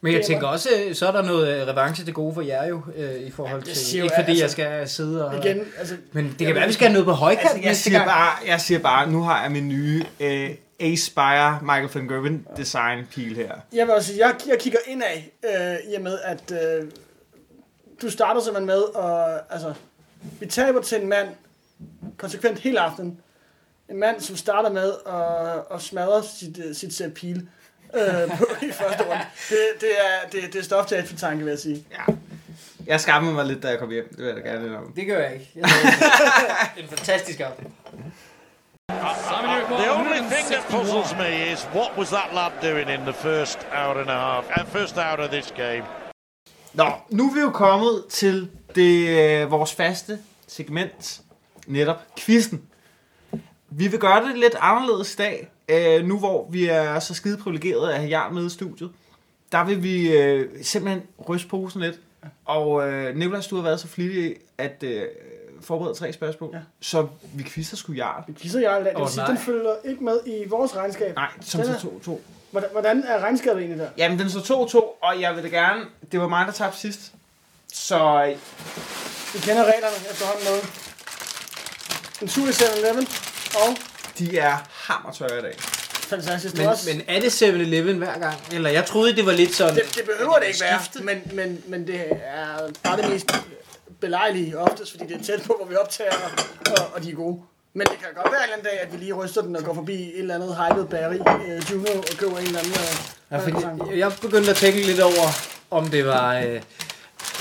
Speaker 4: Men jeg
Speaker 2: Det er
Speaker 4: tænker også, øh, så er der noget øh, revanche til gode for jer jo, øh, i forhold
Speaker 2: Ja,
Speaker 4: til...
Speaker 2: det siger jo,
Speaker 4: Ikke fordi
Speaker 2: altså-
Speaker 4: jeg skal sidde og...
Speaker 2: Igen, altså,
Speaker 4: Men det
Speaker 2: Jeg
Speaker 4: kan være,
Speaker 2: ved-
Speaker 4: vi skal have noget på højkant
Speaker 1: altså, jeg,
Speaker 4: næste
Speaker 1: siger
Speaker 4: gang.
Speaker 1: bare, jeg siger bare, nu har jeg min nye øh, Aspire Michael van Gerwen design pil her.
Speaker 2: Jeg vil også sige, jeg, jeg kigger indad, øh, i og med, at øh, du starter simpelthen med, og altså, vi taber til en mand konsekvent hele aftenen. en mand, som starter med at, at smadre sit, øh, sit sæt pil øh, på i første runde. Det, det, er, det, det er stof til eftertanke, vil jeg sige.
Speaker 1: Ja. Jeg skammede mig lidt, da jeg kom hjem. Det vil jeg da gerne indrømme.
Speaker 4: Det gør jeg ikke.
Speaker 2: [LAUGHS]
Speaker 4: Jeg det er en fantastisk aften.
Speaker 6: The only thing that puzzles me is what was that lad doing in the first hour and a half, uh, first hour of this game?
Speaker 1: Nå, nu er vi jo kommet til det, øh, vores faste segment, netop quizzen. Vi vil gøre det lidt anderledes i dag, øh, nu hvor vi er så skide privilegerede at have Jarl med i studiet. Der vil vi øh, simpelthen ryste posen lidt. Og øh, Nicolas, du har været så flittig at øh, forberede tre spørgsmål, ja.
Speaker 2: Ja.
Speaker 1: så vi quizzer sgu Jarl.
Speaker 2: Vi quizzer jeg i dag. Det vil
Speaker 4: Åh,
Speaker 2: sige,
Speaker 4: nej.
Speaker 2: den følger ikke med i vores regnskab.
Speaker 1: Nej, som
Speaker 2: Den
Speaker 1: så
Speaker 2: er-
Speaker 1: 2-2.
Speaker 2: Hvordan, hvordan er regnskabet egentlig der?
Speaker 1: Jamen, den så 2-2, og jeg vil da gerne... Det var mig, der tabte sidst. Så øh,
Speaker 2: Vi kender reglerne efterhånden noget. En tur i 7-Eleven. Og
Speaker 1: de er hammertørre i dag.
Speaker 2: fantastisk.
Speaker 4: Men,
Speaker 2: Men, også,
Speaker 4: men er det 7-Eleven hver gang? Eller jeg troede, det var lidt sådan...
Speaker 2: det, det, behøver det ikke være. Men, men, men det er bare det mest belejlige oftest, fordi det er tæt på, hvor vi optager, og, og de er gode. Men det kan godt være en eller anden dag, at vi lige ryster den og går forbi et eller andet hyped Barry øh, Juno og køber en eller anden... Øh,
Speaker 4: Ja,
Speaker 2: sang.
Speaker 4: fordi jeg begyndte at tænke lidt over, om det var... Øh,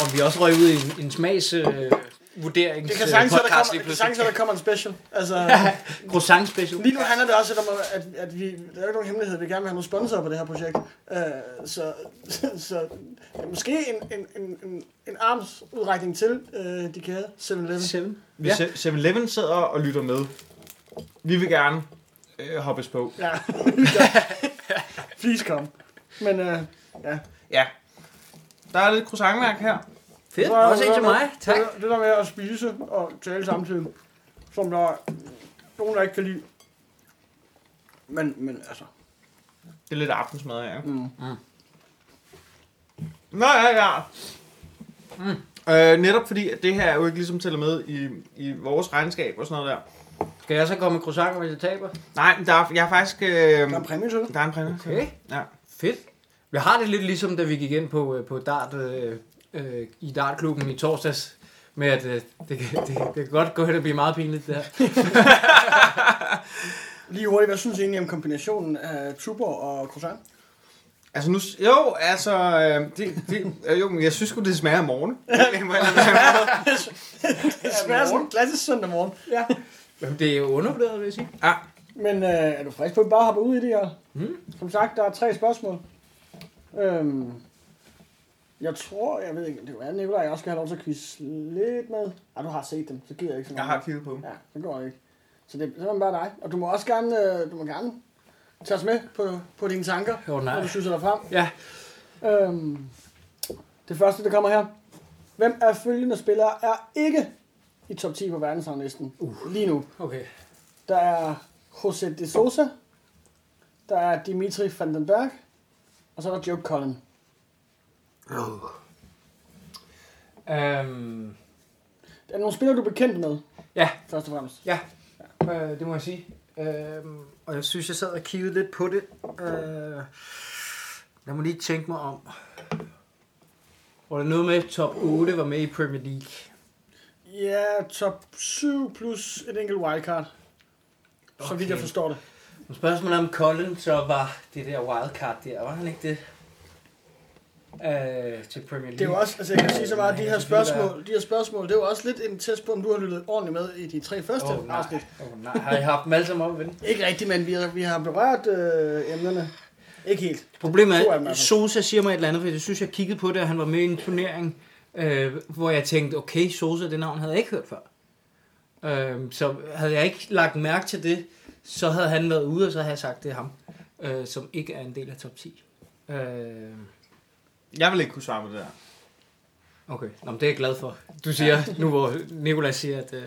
Speaker 4: om vi også røg ud i en, en smags... Øh, vurderings
Speaker 2: det kan sagtens, være, der
Speaker 4: podcast
Speaker 2: kommer,
Speaker 4: lige
Speaker 2: det kan sagtens, være, der kommer en special. Altså, [LAUGHS]
Speaker 4: pludselig. Croissant special.
Speaker 2: Lige nu handler det også lidt om, at, at vi, der er jo ikke nogen hemmelighed, vi gerne vil have nogle sponsorer på det her projekt. Øh, så, [LAUGHS] så ja, måske en, en, en, en, en armsudrækning til øh, de kære 7-Eleven.
Speaker 4: 7. Ja.
Speaker 1: Hvis ja. 7-Eleven sidder og lytter med, vi vil gerne øh, hoppes på.
Speaker 2: Ja, [LAUGHS] please come. Men øh, ja.
Speaker 1: Ja. Der er lidt croissantværk her.
Speaker 4: Fedt. Også en til mig. Tak.
Speaker 2: Det, det der med at spise og tale samtidig, som der er nogen, der ikke kan lide. Men, men altså,
Speaker 1: Det er lidt aftensmad her. Mm. Mm. Nå ja, ja. Mm. Øh, netop fordi, at det her er jo ikke ligesom tæller med i, i vores regnskab og sådan noget der.
Speaker 4: Skal jeg så komme med croissanter, hvis jeg taber?
Speaker 1: Nej, men der er, jeg er faktisk... Øh,
Speaker 2: der er en præmie til det.
Speaker 1: der er en præmie.
Speaker 4: Okay.
Speaker 1: Ja.
Speaker 4: Fedt. Jeg har det lidt ligesom, da vi gik ind på, øh, på dart, øh, øh, i dartklubben i torsdags, med at øh, det, kan- det, det kan godt gå hen og blive meget pinligt, det her.
Speaker 2: Lige hurtigt, hvad synes I egentlig om kombinationen af Tuborg og croissant?
Speaker 1: Altså nu, jo, altså, øh, det, det, øh, jo, men jeg synes sgu, det smager af morgen. Det må jeg lade være med.
Speaker 2: Det smager sådan en klassisk søndag morgen. Ja.
Speaker 4: Jamen, det er jo undervurderet, vil jeg sige.
Speaker 1: ja.
Speaker 2: Men øh, er du frisk på, at vi bare hopper ud i det her? Mm. Som sagt, der er tre spørgsmål. Øhm, jeg tror, jeg ved ikke, det er Nicolaj, jeg også skal have lov til at quizze lidt med. Ah, du har set dem, så gider jeg ikke så
Speaker 1: Jeg
Speaker 2: meget.
Speaker 1: har kigget på dem.
Speaker 2: Ja, det går ikke. Så det er simpelthen bare dig. Og du må også gerne, øh, du må gerne tage os med på, på dine tanker,
Speaker 4: Jo, nej.
Speaker 2: når du synes dig frem.
Speaker 4: Ja,
Speaker 2: Øhm, det første, der kommer her. Hvem af følgende spillere er ikke i top 10 på verdensranglisten uh. lige nu?
Speaker 4: okay.
Speaker 2: Der er José de Sosa. Der er Dimitri van den Berg. Og så er der Joe Cullen.
Speaker 4: Øhm,
Speaker 2: Er der nogle spillere, du er bekendt med,
Speaker 4: ja,
Speaker 2: først og fremmest?
Speaker 4: ja, øh, det må jeg sige. Øhm, og jeg synes, jeg sad og kiggede lidt på det. Øh, jeg må lige tænke mig om. Var der noget med, at top 8 var med i Premier League?
Speaker 2: Ja, top 7 plus et enkelt wildcard. Okay. Så vidt jeg forstår det.
Speaker 4: Men Spørgsmålet er, om Colin så var det der wildcard der. Var han ikke det? Øh, til Premier League.
Speaker 2: Det er jo også, altså jeg kan sige så meget, at de
Speaker 4: Nej,
Speaker 2: her
Speaker 4: selvfølgelig
Speaker 2: spørgsmål, de her spørgsmål, det er jo også lidt en test på, om du har lyttet ordentligt med i de tre første
Speaker 4: Åh,
Speaker 2: oh,
Speaker 4: nej.
Speaker 2: afsnit.
Speaker 4: Åh, nej. Har I haft dem alle sammen op ven?
Speaker 2: Ikke rigtigt, men vi har, vi har berørt øh, emnerne. Ikke helt.
Speaker 4: Problemet
Speaker 2: To af dem
Speaker 4: er,
Speaker 2: er
Speaker 4: at
Speaker 2: der.
Speaker 4: Sosa siger mig et eller andet, for jeg synes, jeg kiggede på det, og han var med i en turnering, øh, hvor jeg tænkte, okay, Sosa, det navn havde jeg ikke hørt før. Øh, så havde jeg ikke lagt mærke til det, så havde han været ude, og så havde jeg sagt, det er ham, øh, som ikke er en del af top 10. Øh,
Speaker 1: Jeg vil ikke kunne svare på det der.
Speaker 4: Okay, Nå, men det er jeg glad for. Du siger, nu hvor Nikolaj siger, at, øh,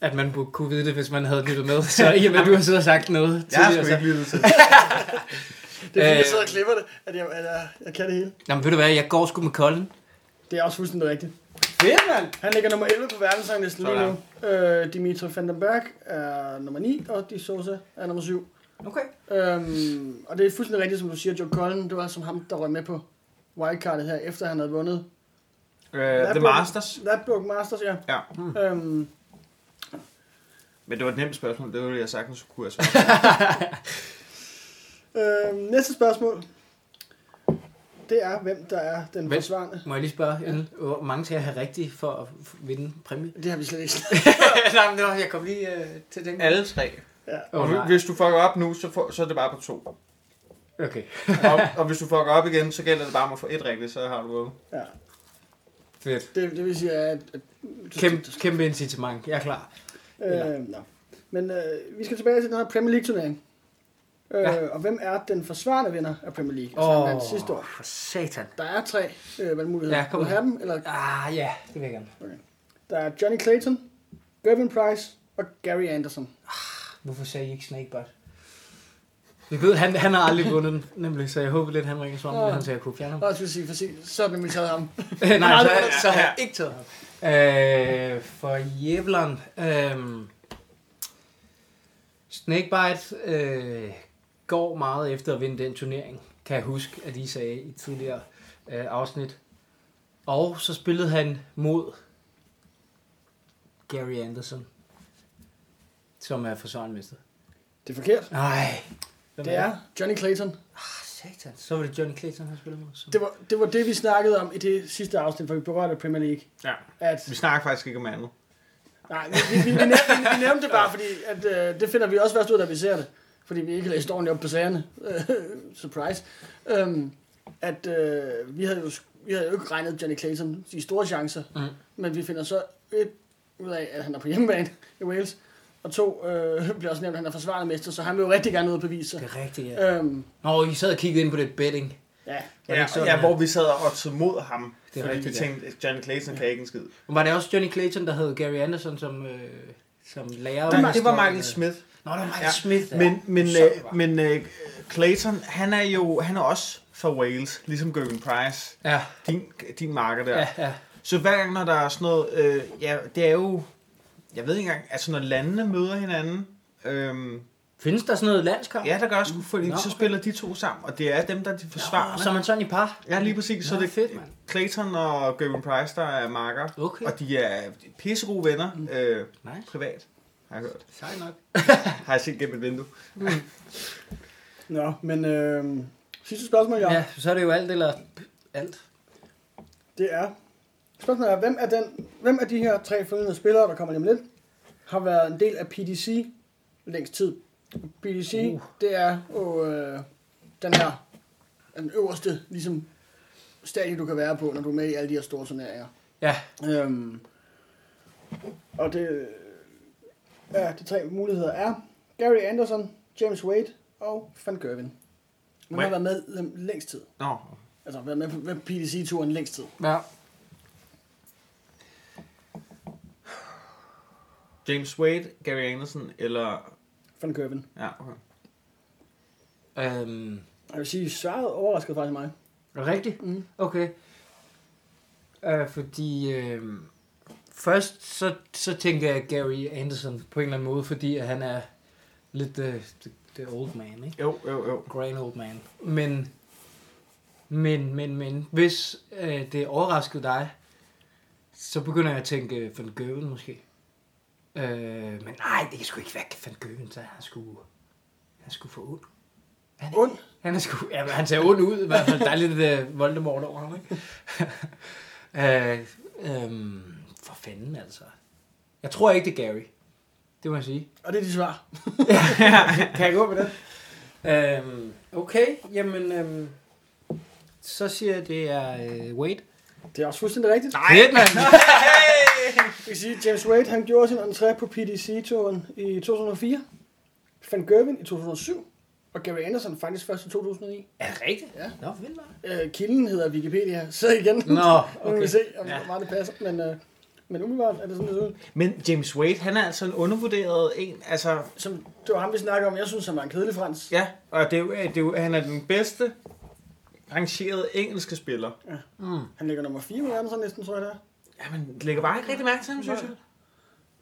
Speaker 4: at man burde kunne vide det, hvis man havde lyttet med. Så i og med, at du har siddet og sagt noget
Speaker 1: Jeg har
Speaker 4: tidligere.
Speaker 1: sgu
Speaker 4: Så...
Speaker 1: ikke lyttet til
Speaker 2: Det er fordi,
Speaker 4: Øh.
Speaker 2: jeg sidder og klipper det, at jeg, at jeg, jeg kan det hele.
Speaker 4: Nå, men ved du hvad, jeg går sgu med Colin.
Speaker 2: Det er også fuldstændig rigtigt.
Speaker 4: Fedt, mand!
Speaker 2: Han ligger nummer 11 på verdensranglisten lige
Speaker 1: Sådan.
Speaker 2: nu. Øh, Dimitri van den Berg er nummer 9, og Di Sosa er nummer 7.
Speaker 4: Okay.
Speaker 2: Øhm, og det er fuldstændig rigtigt, som du siger, Joe Cullen, det var som ham, der røg med på wildcardet her, efter han havde vundet
Speaker 1: Øh, The
Speaker 2: Lapland.
Speaker 1: Masters.
Speaker 2: Øhm, That Book Masters, ja.
Speaker 1: Ja.
Speaker 2: Mm. Øhm,
Speaker 1: Men det var et nemt spørgsmål, det var det, jeg sagtens kunne have svaret.
Speaker 2: Øh, næste spørgsmål. Det er, hvem der er den
Speaker 4: Hvem?
Speaker 2: forsvarende.
Speaker 4: Må jeg lige spørge, Ellen, hvor mange skal jeg have rigtigt for at f- vinde præmie?
Speaker 2: Det har vi slet ikke
Speaker 4: [LAUGHS] Nej, men det var, jeg kom lige øh, til at tænke.
Speaker 1: Alle tre.
Speaker 4: Åh,
Speaker 1: Og
Speaker 4: nej.
Speaker 1: hvis du fucker op nu, så, får, så er det bare på to.
Speaker 4: Okay.
Speaker 1: Og, og hvis du fucker op igen, så gælder det bare om at få et rigtigt, så har du vundet.
Speaker 2: Ja,
Speaker 4: Fedt.
Speaker 2: det, det vil sige, at... at
Speaker 4: Kæmpe, kæmpe incitament. Jeg er klar. Eller-
Speaker 2: Øh, nå. Men øh, vi skal tilbage til den her Premier League-turnering. Øh,
Speaker 4: Ja.
Speaker 2: ja. Og hvem er den forsvarende vinder af Premier League? Altså,
Speaker 4: Åh,
Speaker 2: oh. den sidste år.
Speaker 4: for satan.
Speaker 2: Der er tre øh, valgmuligheder.
Speaker 4: Ja, kom
Speaker 2: Vil du
Speaker 4: med.
Speaker 2: have dem, eller
Speaker 4: Ah, ja, det vil jeg gerne.
Speaker 2: der er Johnny Clayton, Gervin Price og Gary Anderson.
Speaker 4: Hvorfor sagde I ikke Snakebot? Vi ved, han, han har aldrig vundet den, nemlig, så jeg håber lidt, han ringer svaret, men han sagde, jeg kunne fjerne ham.
Speaker 2: Nå, jeg skulle sige, for sig, så er det nemlig taget ham.
Speaker 4: [LAUGHS] Nej, så, så har jeg ikke taget ham. Øh, for Jævleren. Øh, Snakebite øh, går meget efter at vinde den turnering, kan jeg huske, at I sagde i tidligere øh, afsnit. Og så spillede han mod Gary Anderson, som er forsvarenmester.
Speaker 2: Det er forkert.
Speaker 4: Nej.
Speaker 2: Det er Johnny Clayton.
Speaker 4: Ah, Satan, så var det Johnny Clayton, han spillede mod. Så.
Speaker 2: Det var, det var det, vi snakkede om i det sidste afsnit, hvor vi berørte Premier League.
Speaker 1: Ja.
Speaker 2: At
Speaker 1: Vi snakker faktisk ikke om andet.
Speaker 2: Nej, vi, vi, vi, vi, nævnte, vi, vi nævnte det bare, fordi at, øh, det finder vi også først ud af, da vi ser det. Fordi vi ikke har læst ordentligt op på sagerne. [LAUGHS] Øh, Surprise. Øhm, at øh, vi, havde jo, vi havde jo ikke regnet Johnny Clayton de store chancer. Mm. Men vi finder så et ud af, at han er på hjemmebane i Wales. Og to, øh, bliver også nævnt, at han er forsvarende mester, så han vil jo rigtig gerne ud og bevise sig.
Speaker 4: Det er rigtigt, ja.
Speaker 2: Øhm,
Speaker 4: Nå, I sad og kiggede ind på det betting.
Speaker 2: ja.
Speaker 4: Var det
Speaker 1: Ja,
Speaker 4: ikke sådan, øh,
Speaker 1: ja,
Speaker 4: at-
Speaker 1: hvor vi sad og oddsede mod ham,
Speaker 4: Det er
Speaker 1: fordi
Speaker 4: rigtigt,
Speaker 1: vi
Speaker 4: ja.
Speaker 1: tænkte, at Johnny Clayson kan ikke en skid.
Speaker 4: Var det også Johnny Clayton, der havde Gary Anderson som, øh, som lærer? øh,
Speaker 1: Nej, det var Michael Smith.
Speaker 4: Nå, det var Michael
Speaker 1: Ja.
Speaker 4: Smith. Ja.
Speaker 1: Men, men,
Speaker 4: Sådan
Speaker 1: øh,
Speaker 4: var.
Speaker 1: men øh, Clayton, han er jo han er også fra Wales, ligesom Gervin Price,
Speaker 4: Ja,
Speaker 1: din, din marker der.
Speaker 4: ja,
Speaker 1: Ja.
Speaker 4: ja.
Speaker 1: Så hver gang, når der er sådan noget, øh, ja, det er jo, jeg ved ikke engang, altså når landene møder hinanden, øhm,
Speaker 4: Findes der sådan noget landskamp?
Speaker 1: ja, der gør sgu, fordi
Speaker 4: Nå,
Speaker 1: så
Speaker 4: okay.
Speaker 1: spiller de to sammen, og det er dem, der er de
Speaker 4: Svar,
Speaker 1: forsvarer.
Speaker 4: så er man sådan i par.
Speaker 1: Ja, lige præcis. så
Speaker 4: Nå,
Speaker 1: det er
Speaker 4: fedt, mand.
Speaker 1: Clayton og Gervin Price, der er marker.
Speaker 4: Okay. Mm.
Speaker 1: Og de er pissegode venner, øh,
Speaker 4: Nice.
Speaker 1: privat, har jeg hørt.
Speaker 4: Sej nok.
Speaker 1: Har jeg set gennem et vindue.
Speaker 2: Nå, men øh, sidste spørgsmål, Jan.
Speaker 4: Ja,
Speaker 2: Ja.
Speaker 4: så er det jo alt eller alt.
Speaker 2: Det er, spørgsmålet er, hvem er, den, hvem af de her tre følgende spillere, der kommer lige om lidt, har været en del af PDC længst tid? PDC, uh. det er jo øh, den her, den øverste ligesom, stadie, du kan være på, når du er med i alle de her store turneringer.
Speaker 4: Ja,
Speaker 2: Øhm, og det, øh, ja, de tre muligheder er Gary Anderson, James Wade og Van Gerwen. Hvem har
Speaker 1: Wade.
Speaker 2: været med øhm, længst tid?
Speaker 1: Nå,
Speaker 2: Altså været med på med PDC-turen længst tid?
Speaker 4: ja.
Speaker 1: James Wade, Gary Anderson eller...
Speaker 2: Van Gerwen.
Speaker 1: Ja, okay.
Speaker 4: Øhm,
Speaker 2: Jeg vil sige, svaret overraskede faktisk mig.
Speaker 4: er det rigtigt?
Speaker 2: Mm.
Speaker 4: Okay. Øh, fordi øh, først så, så tænker jeg Gary Anderson på en eller anden måde, fordi at han er lidt øh, the, the old man, ikke?
Speaker 1: Jo, jo, jo.
Speaker 4: grand old man. Men, men, men, men, hvis øh, det overraskede dig, så begynder jeg at tænke øh, Van Gøven måske. Øh, men nej, det kan sgu ikke være Van Gøven, så er han skulle, han skulle få ond. Han,
Speaker 2: Ond?
Speaker 4: Han, er sgu, ja, men han ser ond ud, i hvert fald. Der er lidt øh, Voldemort over ham, ikke? [LAUGHS] øh, øh, for fanden altså. Jeg tror ikke, det er Gary. Det må jeg sige.
Speaker 2: Og det er de svar.
Speaker 4: Kan jeg gå med det? Øhm, okay, jamen, øhm, så siger jeg, det er øh, Wade.
Speaker 2: Det er også fuldstændig rigtigt.
Speaker 4: Nej, Fedt, mand.
Speaker 2: Jeg kan sige, James Wade han gjorde sin entré på PDC-turen i 2004. Van Gerwen i 2007. Og Gary Anderson faktisk først i 2009.
Speaker 4: Er det rigtigt?
Speaker 2: Ja.
Speaker 4: Nå, vildt nok.
Speaker 2: Øh, kilden hedder Wikipedia. [LAUGHS] Så igen. Nu
Speaker 4: Nå,
Speaker 2: må
Speaker 4: okay.
Speaker 2: vi se, om
Speaker 1: Ja.
Speaker 2: ja. meget det passer. Men, øh, men umiddelbart er det sådan, det ser ud.
Speaker 1: Men James Wade, han er altså en undervurderet en, altså...
Speaker 2: Som, det var ham, vi snakkede om. Jeg synes, han var en kedelig frans.
Speaker 1: Ja, og det er jo, det er jo, han er den bedste rangerede engelske spiller.
Speaker 2: Han ligger nummer 4 i verden, så næsten, tror jeg det er.
Speaker 1: Jamen, lægger bare ikke rigtig mærke til ham, synes jeg.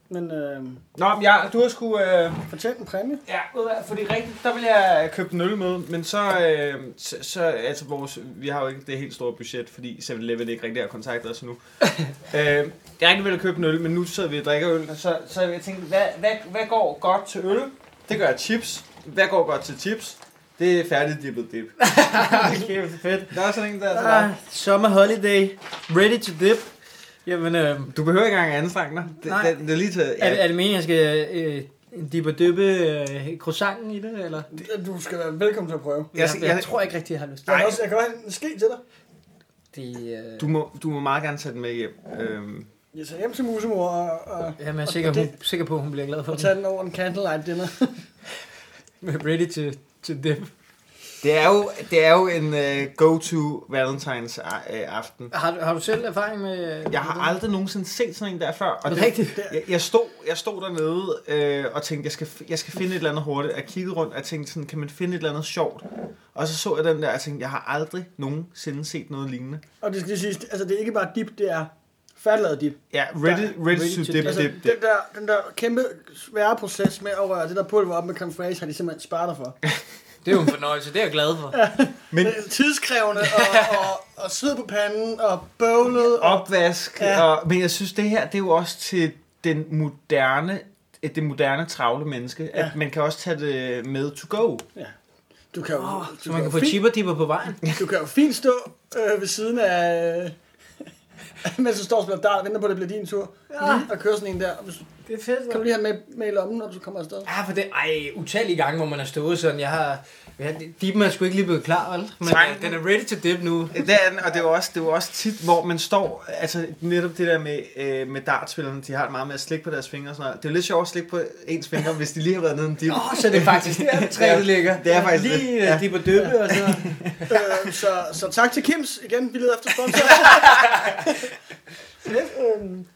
Speaker 2: Men øh,
Speaker 1: Nå, men jeg, du har sgu... Øh,
Speaker 2: fortjent en præmie.
Speaker 1: ja, ved du hvad, fordi rigtigt, der ville jeg købe en øl med, men så, øh, så, så altså vores, vi har jo ikke det helt store budget, fordi 7-Eleven ikke rigtig har kontaktet [LAUGHS] os nu. øh, jeg er rigtig ville købe en øl, men nu sidder vi og drikker øl, og så, så jeg tænkte, hvad, hvad, hvad går godt til øl? Det gør chips. Hvad går godt til chips? Det er færdigdippet [LAUGHS] dip.
Speaker 7: Kæft fedt.
Speaker 1: Der er sådan en der, der
Speaker 7: Ah, summer holiday. Ready to dip. Jamen, øh,
Speaker 1: Du behøver ikke engang at anstrenge dig. Det,
Speaker 7: Nej.
Speaker 1: det, det er lige til...
Speaker 7: er, er det meningen, jeg skal øh, dippe og dyppe øh, croissanten i det, eller?
Speaker 2: Du skal være velkommen til at prøve.
Speaker 1: jeg,
Speaker 7: jeg, jeg, tror ikke rigtig, jeg har lyst til
Speaker 2: Jeg
Speaker 1: Nej.
Speaker 2: kan, også, jeg kan have en ske til dig.
Speaker 7: det. Øh,
Speaker 1: du, må, du må meget gerne tage den med hjem. Øhm,
Speaker 2: Jeg tager hjem til musemor og, og,
Speaker 7: jamen, jeg er sikker, hun, sikker på, at hun bliver glad for
Speaker 2: og
Speaker 7: det.
Speaker 2: tager
Speaker 4: [LAUGHS]
Speaker 2: den over en candlelight dinner.
Speaker 7: Ready to, to dip.
Speaker 1: det, er jo, det er jo en øh, go-to Valentines a- øh, aften.
Speaker 7: Har, du- har du selv erfaring med...
Speaker 1: Jeg har aldrig nogensinde set sådan en der før. Og
Speaker 7: det
Speaker 1: det,
Speaker 7: er rigtigt.
Speaker 1: jeg, jeg, stod, jeg stod dernede øh, og tænkte, jeg skal, f- jeg skal finde et eller andet hurtigt. Jeg kiggede rundt og tænkte, sådan, kan man finde et eller andet sjovt? Og så så jeg den der og tænkte, jeg har aldrig nogensinde set noget lignende.
Speaker 2: og det skal lige siges, altså det er ikke bare dip, det er færdiglavet dip.
Speaker 1: Ja, ready, ready,
Speaker 7: Ready
Speaker 1: to,
Speaker 7: to
Speaker 1: dip,
Speaker 7: dip.
Speaker 2: Altså,
Speaker 1: dip, dip.
Speaker 2: Den, der, den der kæmpe svære proces med at røre det der pulver op med confraise, har de simpelthen sparet dig for.
Speaker 4: Det er jo en fornøjelse, det er jeg glad for.
Speaker 1: Men
Speaker 2: Det er tidskrævende og, og, og sved på panden og bøvlet. Og,
Speaker 1: opvask. Ja.
Speaker 2: Ja.
Speaker 1: Og, men jeg synes, det her, det er jo også til den moderne, eh, det moderne travle menneske, ja. at man kan også tage det med to go.
Speaker 2: du kan jo,
Speaker 4: Så
Speaker 2: du,
Speaker 4: man
Speaker 2: kan
Speaker 4: kan
Speaker 2: jo
Speaker 4: få
Speaker 2: fint,
Speaker 4: chipper dipper på vejen.
Speaker 2: du kan jo fint stå øh, ved siden af... Øh, [LAUGHS] mens du står og spiller dart og venter på, at det bliver din tur. Ja. Og køre sådan en der. Hvis-
Speaker 7: Det er fedt,
Speaker 2: Kan du lige have den med, med i lommen, når du kommer afsted?
Speaker 4: Ja, for det, ej, utallige gange, hvor man har stået sådan, jeg har... Ja, dippen er sgu ikke lige blevet klar, vel? Men
Speaker 1: Tak.
Speaker 4: øh, den er ready to dip nu.
Speaker 1: Det er den, og det er jo også, det er jo også tit, hvor man står, altså netop det der med, øh, med dartspillerne, de har det meget med at slikke på deres fingre og sådan noget. Det er jo lidt sjovt at slikke på ens fingre, hvis de lige har været nede i en dip.
Speaker 4: Åh, oh, så det er faktisk [LAUGHS] der, træet ligger.
Speaker 1: det er faktisk
Speaker 4: lige,
Speaker 1: det.
Speaker 4: øh,
Speaker 1: Ja.
Speaker 4: dip og dyppe, og så...
Speaker 2: øh, så, så tak til Kims igen. Vi leder efter sponsor. øhm,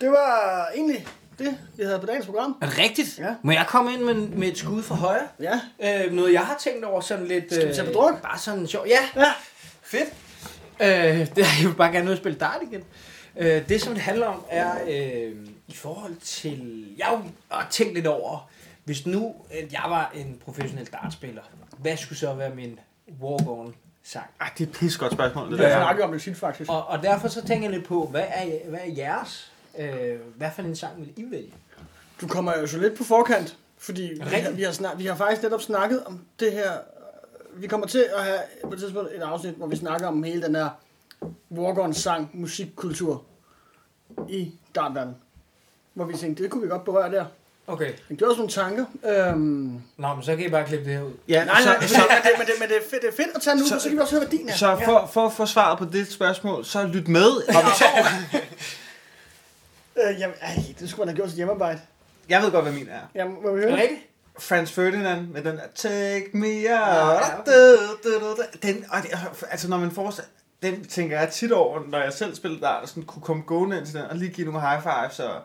Speaker 2: det var egentlig det, vi havde på dagens program.
Speaker 4: Er det rigtigt?
Speaker 2: Ja.
Speaker 4: Må jeg komme ind med, med et skud fra højre?
Speaker 2: Ja,
Speaker 4: Øh, noget, jeg har tænkt over sådan lidt... øh,
Speaker 2: Skal vi tage på druk?
Speaker 4: Bare sådan sjov. Ja,
Speaker 2: ja.
Speaker 4: fedt. Øh, [LAUGHS] det, jeg vil bare gerne ud og spille dart igen. Øh, det, som det handler om, er øh, i forhold til... Jeg har jo også tænkt lidt over, hvis nu at jeg var en professionel dartspiller, hvad skulle så være min walk on sang?
Speaker 1: Ah, det er et pissegodt spørgsmål, det
Speaker 2: Jeg
Speaker 1: der.
Speaker 2: snakker om det tit, faktisk.
Speaker 4: Og, og derfor så tænker jeg lidt på, hvad er, hvad er jeres? Øh, hvad for en sang vil I vælge?
Speaker 2: Du kommer jo så lidt på forkant, fordi vi
Speaker 4: det rigtigt?
Speaker 2: har, vi, har snak, vi har faktisk netop snakket om det her. Vi kommer til at have på et tidspunkt et afsnit, hvor vi snakker om hele den her walk sang musikkultur i Dartland. Hvor vi tænkte, det kunne vi godt berøre der.
Speaker 4: Okay.
Speaker 2: Men gjorde os nogle tanker. Øhm,
Speaker 4: Nå, men så kan I bare klippe det her ud.
Speaker 1: Ja,
Speaker 2: Nej, nej, men,
Speaker 1: så, så,
Speaker 2: men, det, men, det, men det, er fedt, det er fedt at tage nu, så, så kan vi også høre, hvad din er.
Speaker 1: så for, for at få svaret på det spørgsmål, så lyt med. Om,
Speaker 2: Øh, jamen, ej, det skulle man have gjort sit hjemmearbejde.
Speaker 1: jeg ved godt, hvad min er.
Speaker 2: Jamen, må vi høre det?
Speaker 4: rigtigt?
Speaker 1: Franz Ferdinand med den der Take me out. Du, du, du, du. Den, og det, altså når man forestiller, den tænker jeg tit over, når jeg selv spillede der, og sådan kunne komme gående ind til den, og lige give nogle high fives og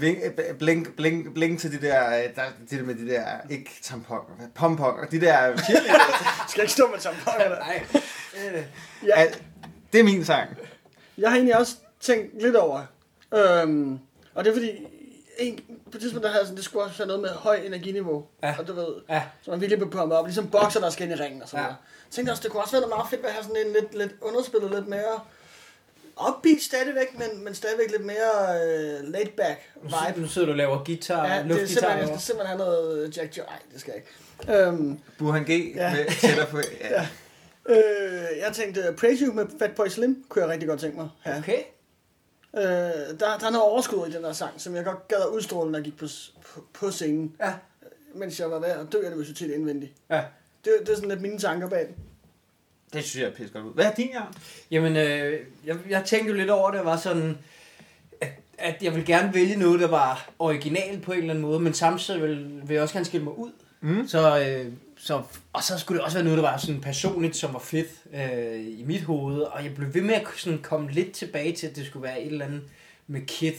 Speaker 1: vink, blink, blink, blink til de der, øh, der, det der med de der, ikke tamponer, hvad, pomponer, de der cheerleaders.
Speaker 2: Skal jeg ikke stå med tamponer der?
Speaker 4: Nej. Øh,
Speaker 2: Ja,
Speaker 1: Al- Det er min sang.
Speaker 2: jeg har egentlig også tænkt lidt over, øhm, og det er fordi, en, på et tidspunkt, der havde jeg sådan, det skulle også være noget med høj energiniveau,
Speaker 4: Ja.
Speaker 2: og du ved,
Speaker 4: Ja.
Speaker 2: så man virkelig blev pumpet op, ligesom bokser, der skal ind i ringen og sådan
Speaker 4: Ja.
Speaker 2: ja. noget. Jeg tænkte også, det kunne også være noget meget fedt at have sådan en lidt, lidt underspillet, lidt mere upbeat stadigvæk, men, men stadigvæk lidt mere øh, laid back
Speaker 4: nu,
Speaker 2: vibe.
Speaker 4: sidder, nu sidder du og laver guitar,
Speaker 2: Ja,
Speaker 4: ja,
Speaker 2: det er
Speaker 4: luftguitar.
Speaker 2: simpelthen, jeg skal
Speaker 4: Det
Speaker 2: simpelthen have noget Jack Joe. Ej, det skal jeg ikke. Øhm,
Speaker 1: Burhan G
Speaker 2: Ja.
Speaker 1: med tættere på. Ja.
Speaker 2: øh, jeg tænkte, Praise You med Fatboy Slim kunne jeg rigtig godt tænke mig. Ja.
Speaker 4: Okay.
Speaker 2: Øh, der, der er noget overskud i den der sang, som jeg godt gad at udstråle, når jeg gik på, s- på, på scenen.
Speaker 4: Ja.
Speaker 2: Mens jeg var ved at dø af nervøsitet indvendigt.
Speaker 4: ja.
Speaker 2: Det, det er sådan lidt mine tanker bag den.
Speaker 1: Det synes jeg er pisse godt ud. Hvad er din, Jørgen?
Speaker 4: Jamen, øh, jeg, jeg tænkte jo lidt over det, og var sådan, at, at jeg ville gerne vælge noget, der var original på en eller anden måde, men samtidig ville, ville jeg også gerne skille mig ud. Mm. Så, øh, så, og så skulle det også være noget, der var sådan personligt, som var fedt øh, i mit hoved, og jeg blev ved med at sådan komme lidt tilbage til, at det skulle være et eller andet med kid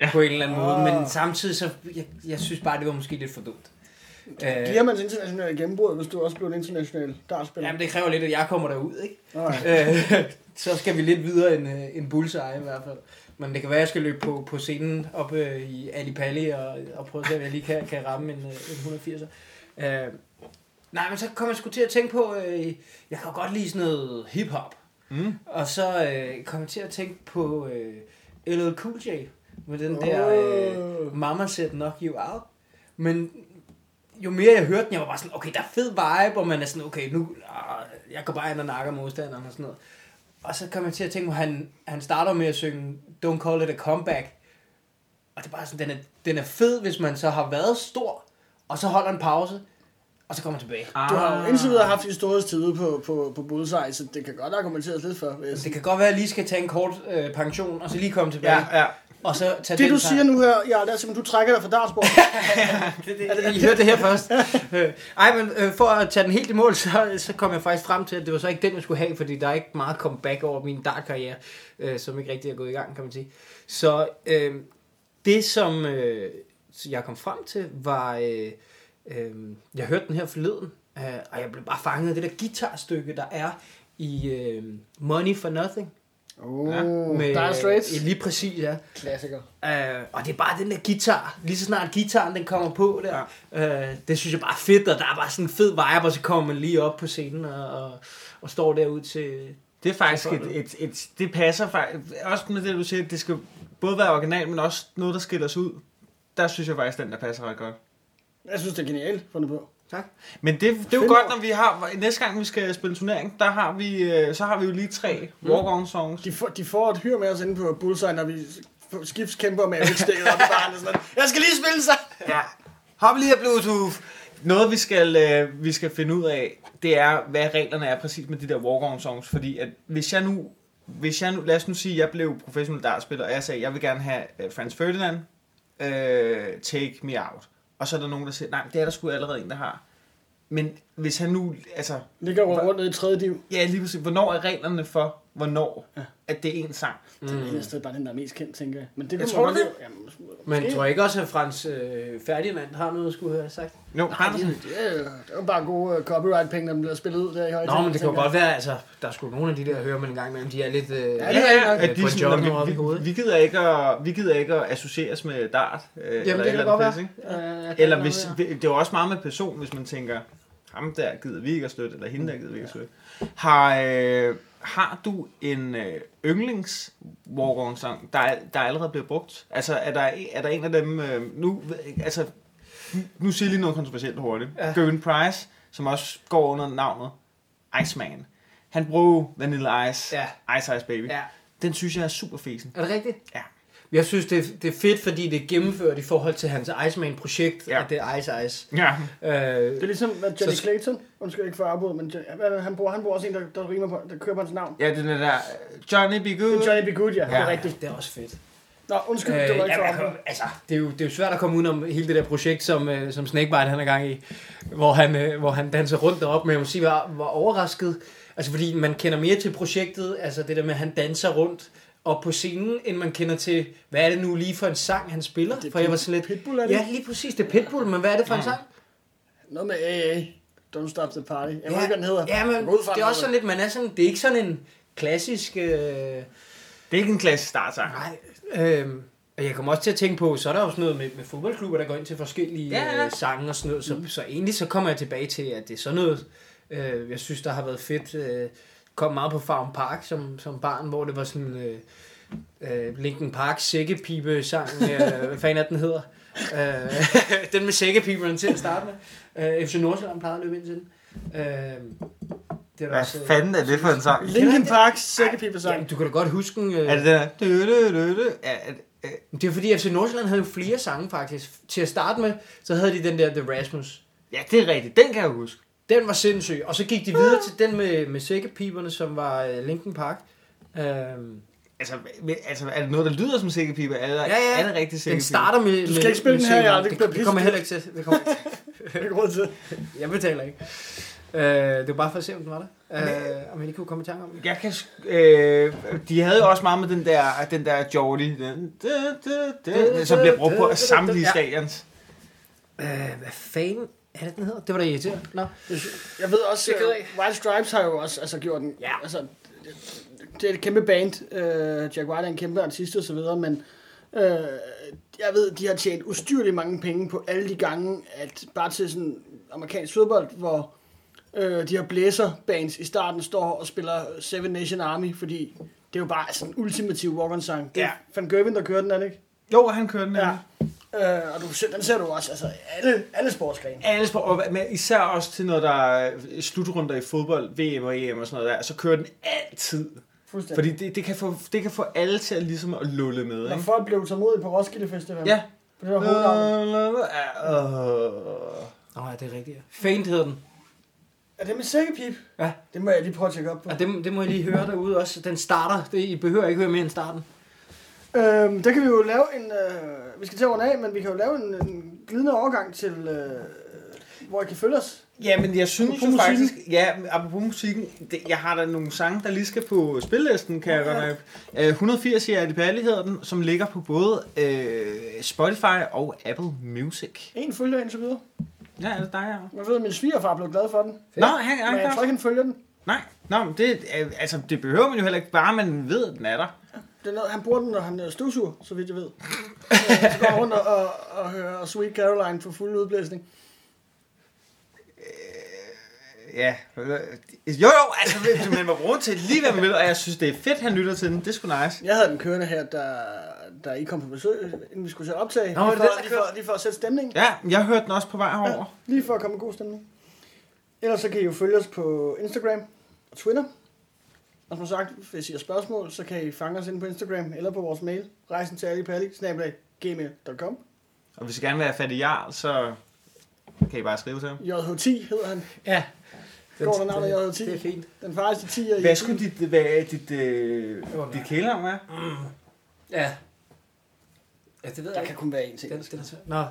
Speaker 4: ja. Ah. på en eller anden måde, men samtidig så, jeg, jeg synes bare, det var måske lidt for dumt. Øh,
Speaker 2: Giver man til internationale gennembrud, hvis du også blev en international dartspiller?
Speaker 4: Jamen, det kræver lidt, at jeg kommer derud, ikke?
Speaker 2: Alright.
Speaker 4: [LAUGHS] Øh, så skal vi lidt videre end, øh, end bullseye i hvert fald. Men det kan være, at jeg skal løbe på, på scenen op øh, i Alipali og, og prøve at se, om jeg lige kan, kan ramme en, øh, en 180'er. Øh, nej, men så kom jeg sgu til at tænke på, øh, jeg kan jo godt lide sådan noget hiphop. Mm. Og så øh, kom jeg til at tænke på øh, LL Cool J med den der øh, Mama Said Knock You Out. Men jo mere jeg hørte den, jeg var bare sådan, okay, der er fed vibe, og man er sådan, okay, nu, ah, jeg går bare ind og nakker modstanderen og sådan noget. Og så kom jeg til at tænke, hvor han, han starter med at synge Don't Call It A Comeback. Og det er bare sådan, den er, den er fed, hvis man så har været stor, og så holder en pause, og så kommer man tilbage.
Speaker 2: Du har jo indtil videre haft historisk tid på, på, på Bullseye, så det kan godt argumenteres lidt for. Hvis...
Speaker 4: Det kan godt være, at jeg lige skal tage en kort øh, pension, og så lige komme tilbage.
Speaker 1: Ja, ja.
Speaker 4: Og så
Speaker 2: Det
Speaker 4: tage den
Speaker 2: du
Speaker 4: sang.
Speaker 2: siger nu her, ja, det er simpelthen, du trækker dig fra
Speaker 4: [LAUGHS]
Speaker 2: dartsbordet.
Speaker 4: det, det, I hørte det her først. Øh, Ej, men øh, for at tage den helt i mål, så, så kom jeg faktisk frem til, at det var så ikke den, jeg skulle have, fordi der er ikke meget comeback over min dartkarriere, øh, som ikke rigtig er gået i gang, kan man sige. Så øh, det, som øh, jeg kom frem til, var... Øh, øh, jeg hørte den her forleden, øh, og jeg blev bare fanget af det der guitarstykke, der er i øh, Money for Nothing.
Speaker 2: oh, Dire Straits.
Speaker 4: øh, Lige præcis, ja.
Speaker 2: Klassiker.
Speaker 4: Øh, og det er bare den der guitar. Lige så snart gitaren den kommer på der, ja. øh, det synes jeg bare er fedt, og der er bare sådan en fed vibe, og så kommer man lige op på scenen og, og, og står derud til...
Speaker 1: Det er faktisk
Speaker 4: Så får du-
Speaker 1: et, et, et, det passer faktisk, også med det du siger, det skal både være original, men også noget, der skiller sig ud. Der synes jeg faktisk, den der passer ret godt.
Speaker 2: Jeg synes, det er genialt fundet på.
Speaker 4: Tak.
Speaker 1: Men det, det er jo
Speaker 2: Fedt.
Speaker 1: godt, når vi har, næste gang vi skal spille turnering, der har vi, øh, så har vi jo lige tre walk-on songs.
Speaker 2: De, får, de får et hyr med os inde på Bullseye, når vi skibskæmper med Riksdale, og det er bare sådan, jeg skal lige spille sig.
Speaker 1: Ja. Hop lige af Bluetooth. Noget, vi skal, øh, vi skal finde ud af, det er, hvad reglerne er præcis med de der walk-on songs. Fordi at hvis jeg nu, hvis jeg nu, lad os nu sige, at jeg blev professionel dartspiller, og jeg sagde, at jeg vil gerne have øh, Franz Ferdinand, øh, take me out. Og så er der nogen, der siger, nej, det er der sgu allerede en, der har. Men hvis han nu, altså,
Speaker 2: Ligger over rundt nede i tredje div.
Speaker 1: ja, lige præcis, hvornår er reglerne for, hvornår, at det er en sang?
Speaker 2: Mm. Det eneste er bare den, der er mest kendt, tænker jeg. Men det
Speaker 1: Jeg
Speaker 2: kunne
Speaker 1: tror
Speaker 2: man
Speaker 1: det.
Speaker 2: godt- Jamen,
Speaker 4: Men
Speaker 2: måske.
Speaker 4: tror jeg ikke også, at Frans øh, Ferdinand har noget, jeg skulle have sagt?
Speaker 1: Jo, Andersen.
Speaker 2: Det er, jo- det er jo bare gode øh, copyright-penge, når den bliver spillet ud der i højtiden.
Speaker 4: Nå, men det kan jo
Speaker 2: tænker
Speaker 4: godt være, altså, der skulle nogle af de der, hører man en gang imellem, de er lidt... Øh,
Speaker 2: Ja,
Speaker 4: ja,
Speaker 2: det
Speaker 1: Ja,
Speaker 2: er
Speaker 1: ja,
Speaker 2: nok
Speaker 1: at
Speaker 4: et
Speaker 1: de
Speaker 4: på
Speaker 1: er
Speaker 4: et
Speaker 1: sådan,
Speaker 4: genre
Speaker 1: "Nå,
Speaker 4: oppe i hovedet."
Speaker 1: vi, vi, gider ikke at, vi gider ikke at associeres med dart. Øh, Jamen,
Speaker 2: jeg. Jamen, det kan godt være.
Speaker 4: Øh,
Speaker 1: Eller hvis, det er jo også meget med person, hvis man tænker, ham der gider vi ikke at støtte, eller hende der gider vi ikke at støtte. Har, øh, har du en øh, yndlings walk sang der, er- der allerede bliver brugt? Altså, er der, er der en af dem, øh, nu, altså, nu siger jeg lige noget kontroversielt hurtigt. Ja. Gavin Price, som også går under navnet Iceman. Han bruger jo Vanilla Ice,
Speaker 4: Ja.
Speaker 1: Ice Ice Baby.
Speaker 4: Ja.
Speaker 1: Den synes jeg er super fesen.
Speaker 4: Er det rigtigt?
Speaker 1: Ja.
Speaker 4: Jeg synes, det er, det er fedt, fordi det er gennemført i forhold til hans Iceman-projekt,
Speaker 1: Ja.
Speaker 4: ja. at det er Ice Ice.
Speaker 1: Ja.
Speaker 4: Øh,
Speaker 2: Det er ligesom hvad Johnny
Speaker 4: Så-
Speaker 2: Clayton. Undskyld ikke for at afbryde, men Johnny- hvad er det, han bruger, han bruger også en, der, der rimer på, der kører på hans navn.
Speaker 1: Ja, den der øh, Johnny B. Good.
Speaker 2: Det er Johnny B. Good, ja. Det er
Speaker 1: Ja.
Speaker 2: rigtigt.
Speaker 4: det er også fedt.
Speaker 2: Nå, undskyld,
Speaker 4: Øh,
Speaker 2: det var
Speaker 4: jamen,
Speaker 2: ikke for at
Speaker 4: jeg,
Speaker 2: afbryde.
Speaker 4: altså, det, er jo, det er jo svært at komme udenom hele det der projekt, som, øh, som Snakebite han er gang i, hvor han, øh, hvor han danser rundt deroppe, men jeg må sige, var, var overrasket, altså fordi man kender mere til projektet, altså det der med, at han danser rundt op på scenen, end man kender til, hvad er det nu lige for en sang, han spiller?
Speaker 2: Det er
Speaker 4: for jeg var sådan lidt,
Speaker 2: Pitbull, er det
Speaker 4: ja,
Speaker 2: ikke?
Speaker 4: lige præcis, det er Pitbull, men hvad er det for en sang?
Speaker 2: Noget med AA. Don't stop the party. Jeg ved ikke, hvad den hedder.
Speaker 4: ja, men
Speaker 2: Jeg går ud fra,
Speaker 4: det er
Speaker 2: den
Speaker 4: også sådan lidt, man er sådan, det er ikke sådan en klassisk... Øh,
Speaker 1: Det er ikke en klassisk startsang.
Speaker 4: Nej, øhm, og jeg kommer også til at tænke på, så er der jo sådan noget med, med fodboldklubber, der går ind til forskellige
Speaker 1: Ja,
Speaker 4: ja,
Speaker 1: ja.
Speaker 4: ja. Øh, sange og sådan noget. Så, mm. så egentlig så kommer jeg tilbage til, at det er sådan noget, øh, jeg synes, der har været fedt. Øh, kom meget på Farm Park som, som barn, hvor det var sådan øh, øh, Linkin Park sækkepipe-sang,
Speaker 1: [LAUGHS]
Speaker 4: øh, hvad fanden er den hedder? Øh, [LAUGHS] den med sækkepiberne til at starte med. Øh, FC Nordsjælland plejede at løbe ind til den. Øh, det er der også, øh,
Speaker 1: er det for en sang?
Speaker 2: Linkin Park's
Speaker 4: Jamen,
Speaker 2: sækkepipesang.
Speaker 4: du kan da godt huske den. Øh,
Speaker 1: Er det den her? Dø, dø, dø, dø. Er, er, øh, er,
Speaker 4: Men Det er fordi FC Nordsjælland havde jo flere sange faktisk. Til at starte med, så havde de den der The Rasmus.
Speaker 1: ja, det er rigtigt. Den kan jeg huske.
Speaker 4: Den var sindssyg. Og så gik de videre til den med, med sækkepiberne, som var øh, Linkin Park. Øhm,
Speaker 1: Altså, hva- altså, er det noget, der lyder som sækkepipe? Er, ja,
Speaker 4: ja.
Speaker 1: er det rigtigt
Speaker 4: den
Speaker 1: sækkepipe?
Speaker 4: starter med...
Speaker 2: Du skal ikke spille den her, Jarl. Det
Speaker 4: det,
Speaker 2: bliver
Speaker 4: det, kommer jeg heller ikke
Speaker 2: pisse.
Speaker 4: til. Det kommer, [LAUGHS] jeg
Speaker 2: Det er ikke råd til.
Speaker 4: ikke- jeg betaler ikke. Øh, det var bare for at se, om den var der. Øh, om jeg lige kunne komme i tanke om det.
Speaker 1: Jeg kan... sk- Øh, de havde jo også meget med den der, den der Jordi, den, da, da, da, som bliver brugt på samtlige
Speaker 4: Ja.
Speaker 1: stadions.
Speaker 4: Øh, hvad fanden er det, den hedder? Det var da irriterende. Nå.
Speaker 2: Jeg ved også, øh,
Speaker 4: Det kan jeg
Speaker 2: uh, White Stripes har jo også altså, gjort den.
Speaker 4: Ja.
Speaker 2: Altså, det er et kæmpe band. Øh, Jack White er en kæmpe artist og så videre, men øh, jeg ved, de har tjent ustyrligt mange penge på alle de gange, at bare til sådan amerikansk fodbold, hvor øh, de her blæserbands i starten står og spiller Seven Nation Army, fordi det er jo bare sådan en ultimativ walk-on-sang. Det er
Speaker 1: Ja.
Speaker 2: Van Gerwen, der kører den, er det ikke?
Speaker 1: Jo, han kørte den. Ja.
Speaker 2: Øh, og du, ser- den ser du også, altså alle, alle sportsgrene.
Speaker 1: Alle spor, og men især også til, når der er slutrunder i fodbold, VM og EM og sådan noget der, så kører den altid.
Speaker 2: Fuldstændig.
Speaker 1: Fordi det, det, kan, få, det kan få alle til at, ligesom at lulle med,
Speaker 2: Når
Speaker 1: ikke?
Speaker 2: folk blev tålmodige på Roskilde Festival.
Speaker 1: Ja.
Speaker 2: På det der
Speaker 1: La,
Speaker 2: hovednavn.
Speaker 1: la, la, ah, åh.
Speaker 4: Nå, ja, det er rigtigt. ja. Faint hed den.
Speaker 2: Er det med sækkepip?
Speaker 4: Ja.
Speaker 2: Det må jeg lige prøve at tjekke op på.
Speaker 4: Og det, det må jeg lige høre derude også. Den starter. Det, I behøver ikke høre mere end starten.
Speaker 2: Øhm, der kan vi jo lave en... Øh, vi skal til at runde af, men vi kan jo lave en, en glidende overgang til... Øh, hvor I kan følge os.
Speaker 1: Ja, men jeg synes
Speaker 2: Apropos
Speaker 1: jo
Speaker 2: musikken.
Speaker 1: faktisk, ja, apropos musikken, det, jeg har da nogle sange, der lige skal på spillelisten, kan jeg godt mærke. Øh, 180 i Ali Pali hedder den, som ligger på både øh, Spotify og Apple Music.
Speaker 2: En følger indtil videre.
Speaker 1: Ja, er det dig, jeg har?
Speaker 2: Jeg ved, at min svigerfar blev glad for den.
Speaker 1: Nå, han
Speaker 2: Men jeg
Speaker 1: er
Speaker 2: tror ikke, han følger den.
Speaker 1: Nej, Nå, men det, øh, altså, det behøver man jo heller ikke, bare man ved, at den er der.
Speaker 2: Det er noget, han bruger den, når han øh, støvsuger, så vidt jeg
Speaker 1: [LAUGHS]
Speaker 2: ved. Øh, så går han rundt og, og, og hører Sweet Caroline for fuld udblæsning.
Speaker 1: Ja, øh, jo jo, altså, ved du, man må bruge til lige, hvad man vil, og jeg synes, det er fedt, han lytter til den. Det er sgu nice.
Speaker 2: Jeg havde den kørende her, da, da I kom på besøg, inden vi skulle til at optage.
Speaker 1: Nå, var det
Speaker 2: lige,
Speaker 1: den,
Speaker 2: for,
Speaker 1: der
Speaker 2: lige, for, lige for at sætte stemningen.
Speaker 1: Ja, jeg hørte den også på vej herover.
Speaker 2: Lige for at komme i god stemning. Ellers så kan I jo følge os på Instagram og Twitter. Og som sagt, hvis I har spørgsmål, så kan I fange os inde på Instagram eller på vores mail. Rejsen til gmail.com.
Speaker 1: Og hvis I gerne vil have fat i Jarl, så kan I bare skrive til ham.
Speaker 2: JH10 hedder han.
Speaker 4: Ja.
Speaker 2: Går der navnet
Speaker 4: det,
Speaker 2: JH10?
Speaker 4: det er fint.
Speaker 2: Den farligste 10 er i.
Speaker 1: Hvad skulle dit, hvad er dit, øh, dit kælenavn være?
Speaker 4: Ja. Ja, det ved
Speaker 2: Der
Speaker 4: jeg
Speaker 2: kan
Speaker 4: ikke.
Speaker 2: kun være én ting.
Speaker 4: Den, den, nå,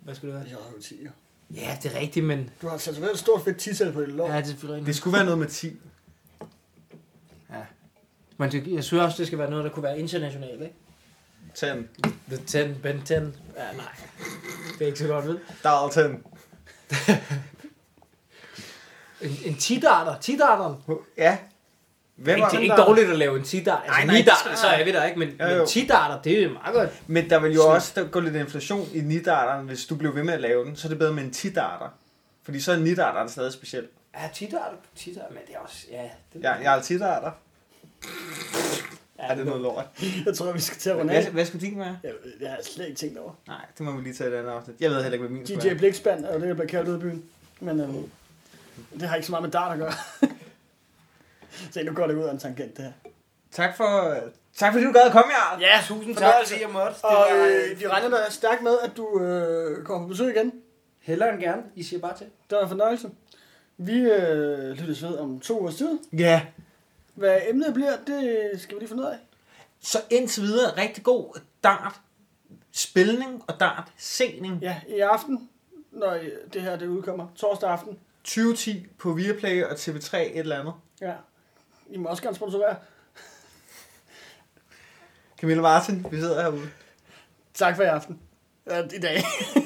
Speaker 4: hvad skulle det være?
Speaker 2: JH10. jo.
Speaker 4: Ja, det er rigtigt, men...
Speaker 2: Du har tatoveret et stort fedt titel på dit lår.
Speaker 4: Ja, det er selvfølgelig
Speaker 1: Det
Speaker 4: rigtigt.
Speaker 1: skulle være noget med 10.
Speaker 4: Men det, jeg synes også, det skal være noget, der kunne være internationalt, ikke?
Speaker 1: Ten.
Speaker 4: The 10, Ben 10. Ja, nej. Det er ikke så godt ved.
Speaker 1: Darl 10.
Speaker 4: En, en tidarter. Tidarteren.
Speaker 1: Ja. Hvem
Speaker 4: Ikke,
Speaker 1: var
Speaker 4: det er
Speaker 1: den
Speaker 4: ikke
Speaker 1: der?
Speaker 4: dårligt at lave en tidarter.
Speaker 1: Nej,
Speaker 4: Altså, nej,
Speaker 1: nej,
Speaker 4: nej,
Speaker 1: det skal-
Speaker 4: nidarter, så er vi der ikke, men,
Speaker 1: Jo, jo.
Speaker 4: men tidarter, det er meget godt.
Speaker 1: Men der vil jo også der gå lidt inflation i nidarteren, hvis du blev ved med at lave den. Så er det bedre med en tidarter. Fordi så er nidarteren stadig speciel.
Speaker 4: Ja, tidarter, tidarter, men det er også... Ja, det,
Speaker 1: Jeg, jeg er tidarter. Er det noget lort?
Speaker 2: Jeg tror, vi skal til at runde af.
Speaker 1: Hvad, hvad skulle din være?
Speaker 2: Jeg, jeg har slet ikke tænkt over.
Speaker 1: Nej, det må vi lige tage i et andet afsnit. Jeg ved heller ikke, hvad min skulle
Speaker 2: DJ
Speaker 1: være.
Speaker 2: Blikspand er jo det, der bliver kaldt ud i byen. Men øh, det har ikke så meget med dart at gøre. [LAUGHS] Se, nu går det ud af en tangent, det her.
Speaker 1: Tak for, tak fordi du gad at komme, Jarl.
Speaker 2: Ja,
Speaker 4: Tusind tak,
Speaker 2: fornøjelse.
Speaker 4: fordi jeg måtte.
Speaker 2: Og øh, vi regner da stærkt med, at du øh, kommer på besøg igen.
Speaker 4: Hellere end gerne. I siger bare til.
Speaker 2: Det var en fornøjelse. Vi øh, lyttes ved om to ugers tid.
Speaker 1: Ja.
Speaker 2: Hvad emnet bliver, det skal vi lige finde ud af.
Speaker 1: Så indtil videre, rigtig god dart spilning og dart sening.
Speaker 2: Ja, i aften, når I- det her det udkommer. Torsdag aften.
Speaker 1: 2010 på Viaplay og TV3 et eller andet.
Speaker 2: Ja. I må også gerne sponsorere.
Speaker 1: Camilla Martin, vi sidder herude.
Speaker 2: Tak for i aften. Ja, I dag. [LAUGHS]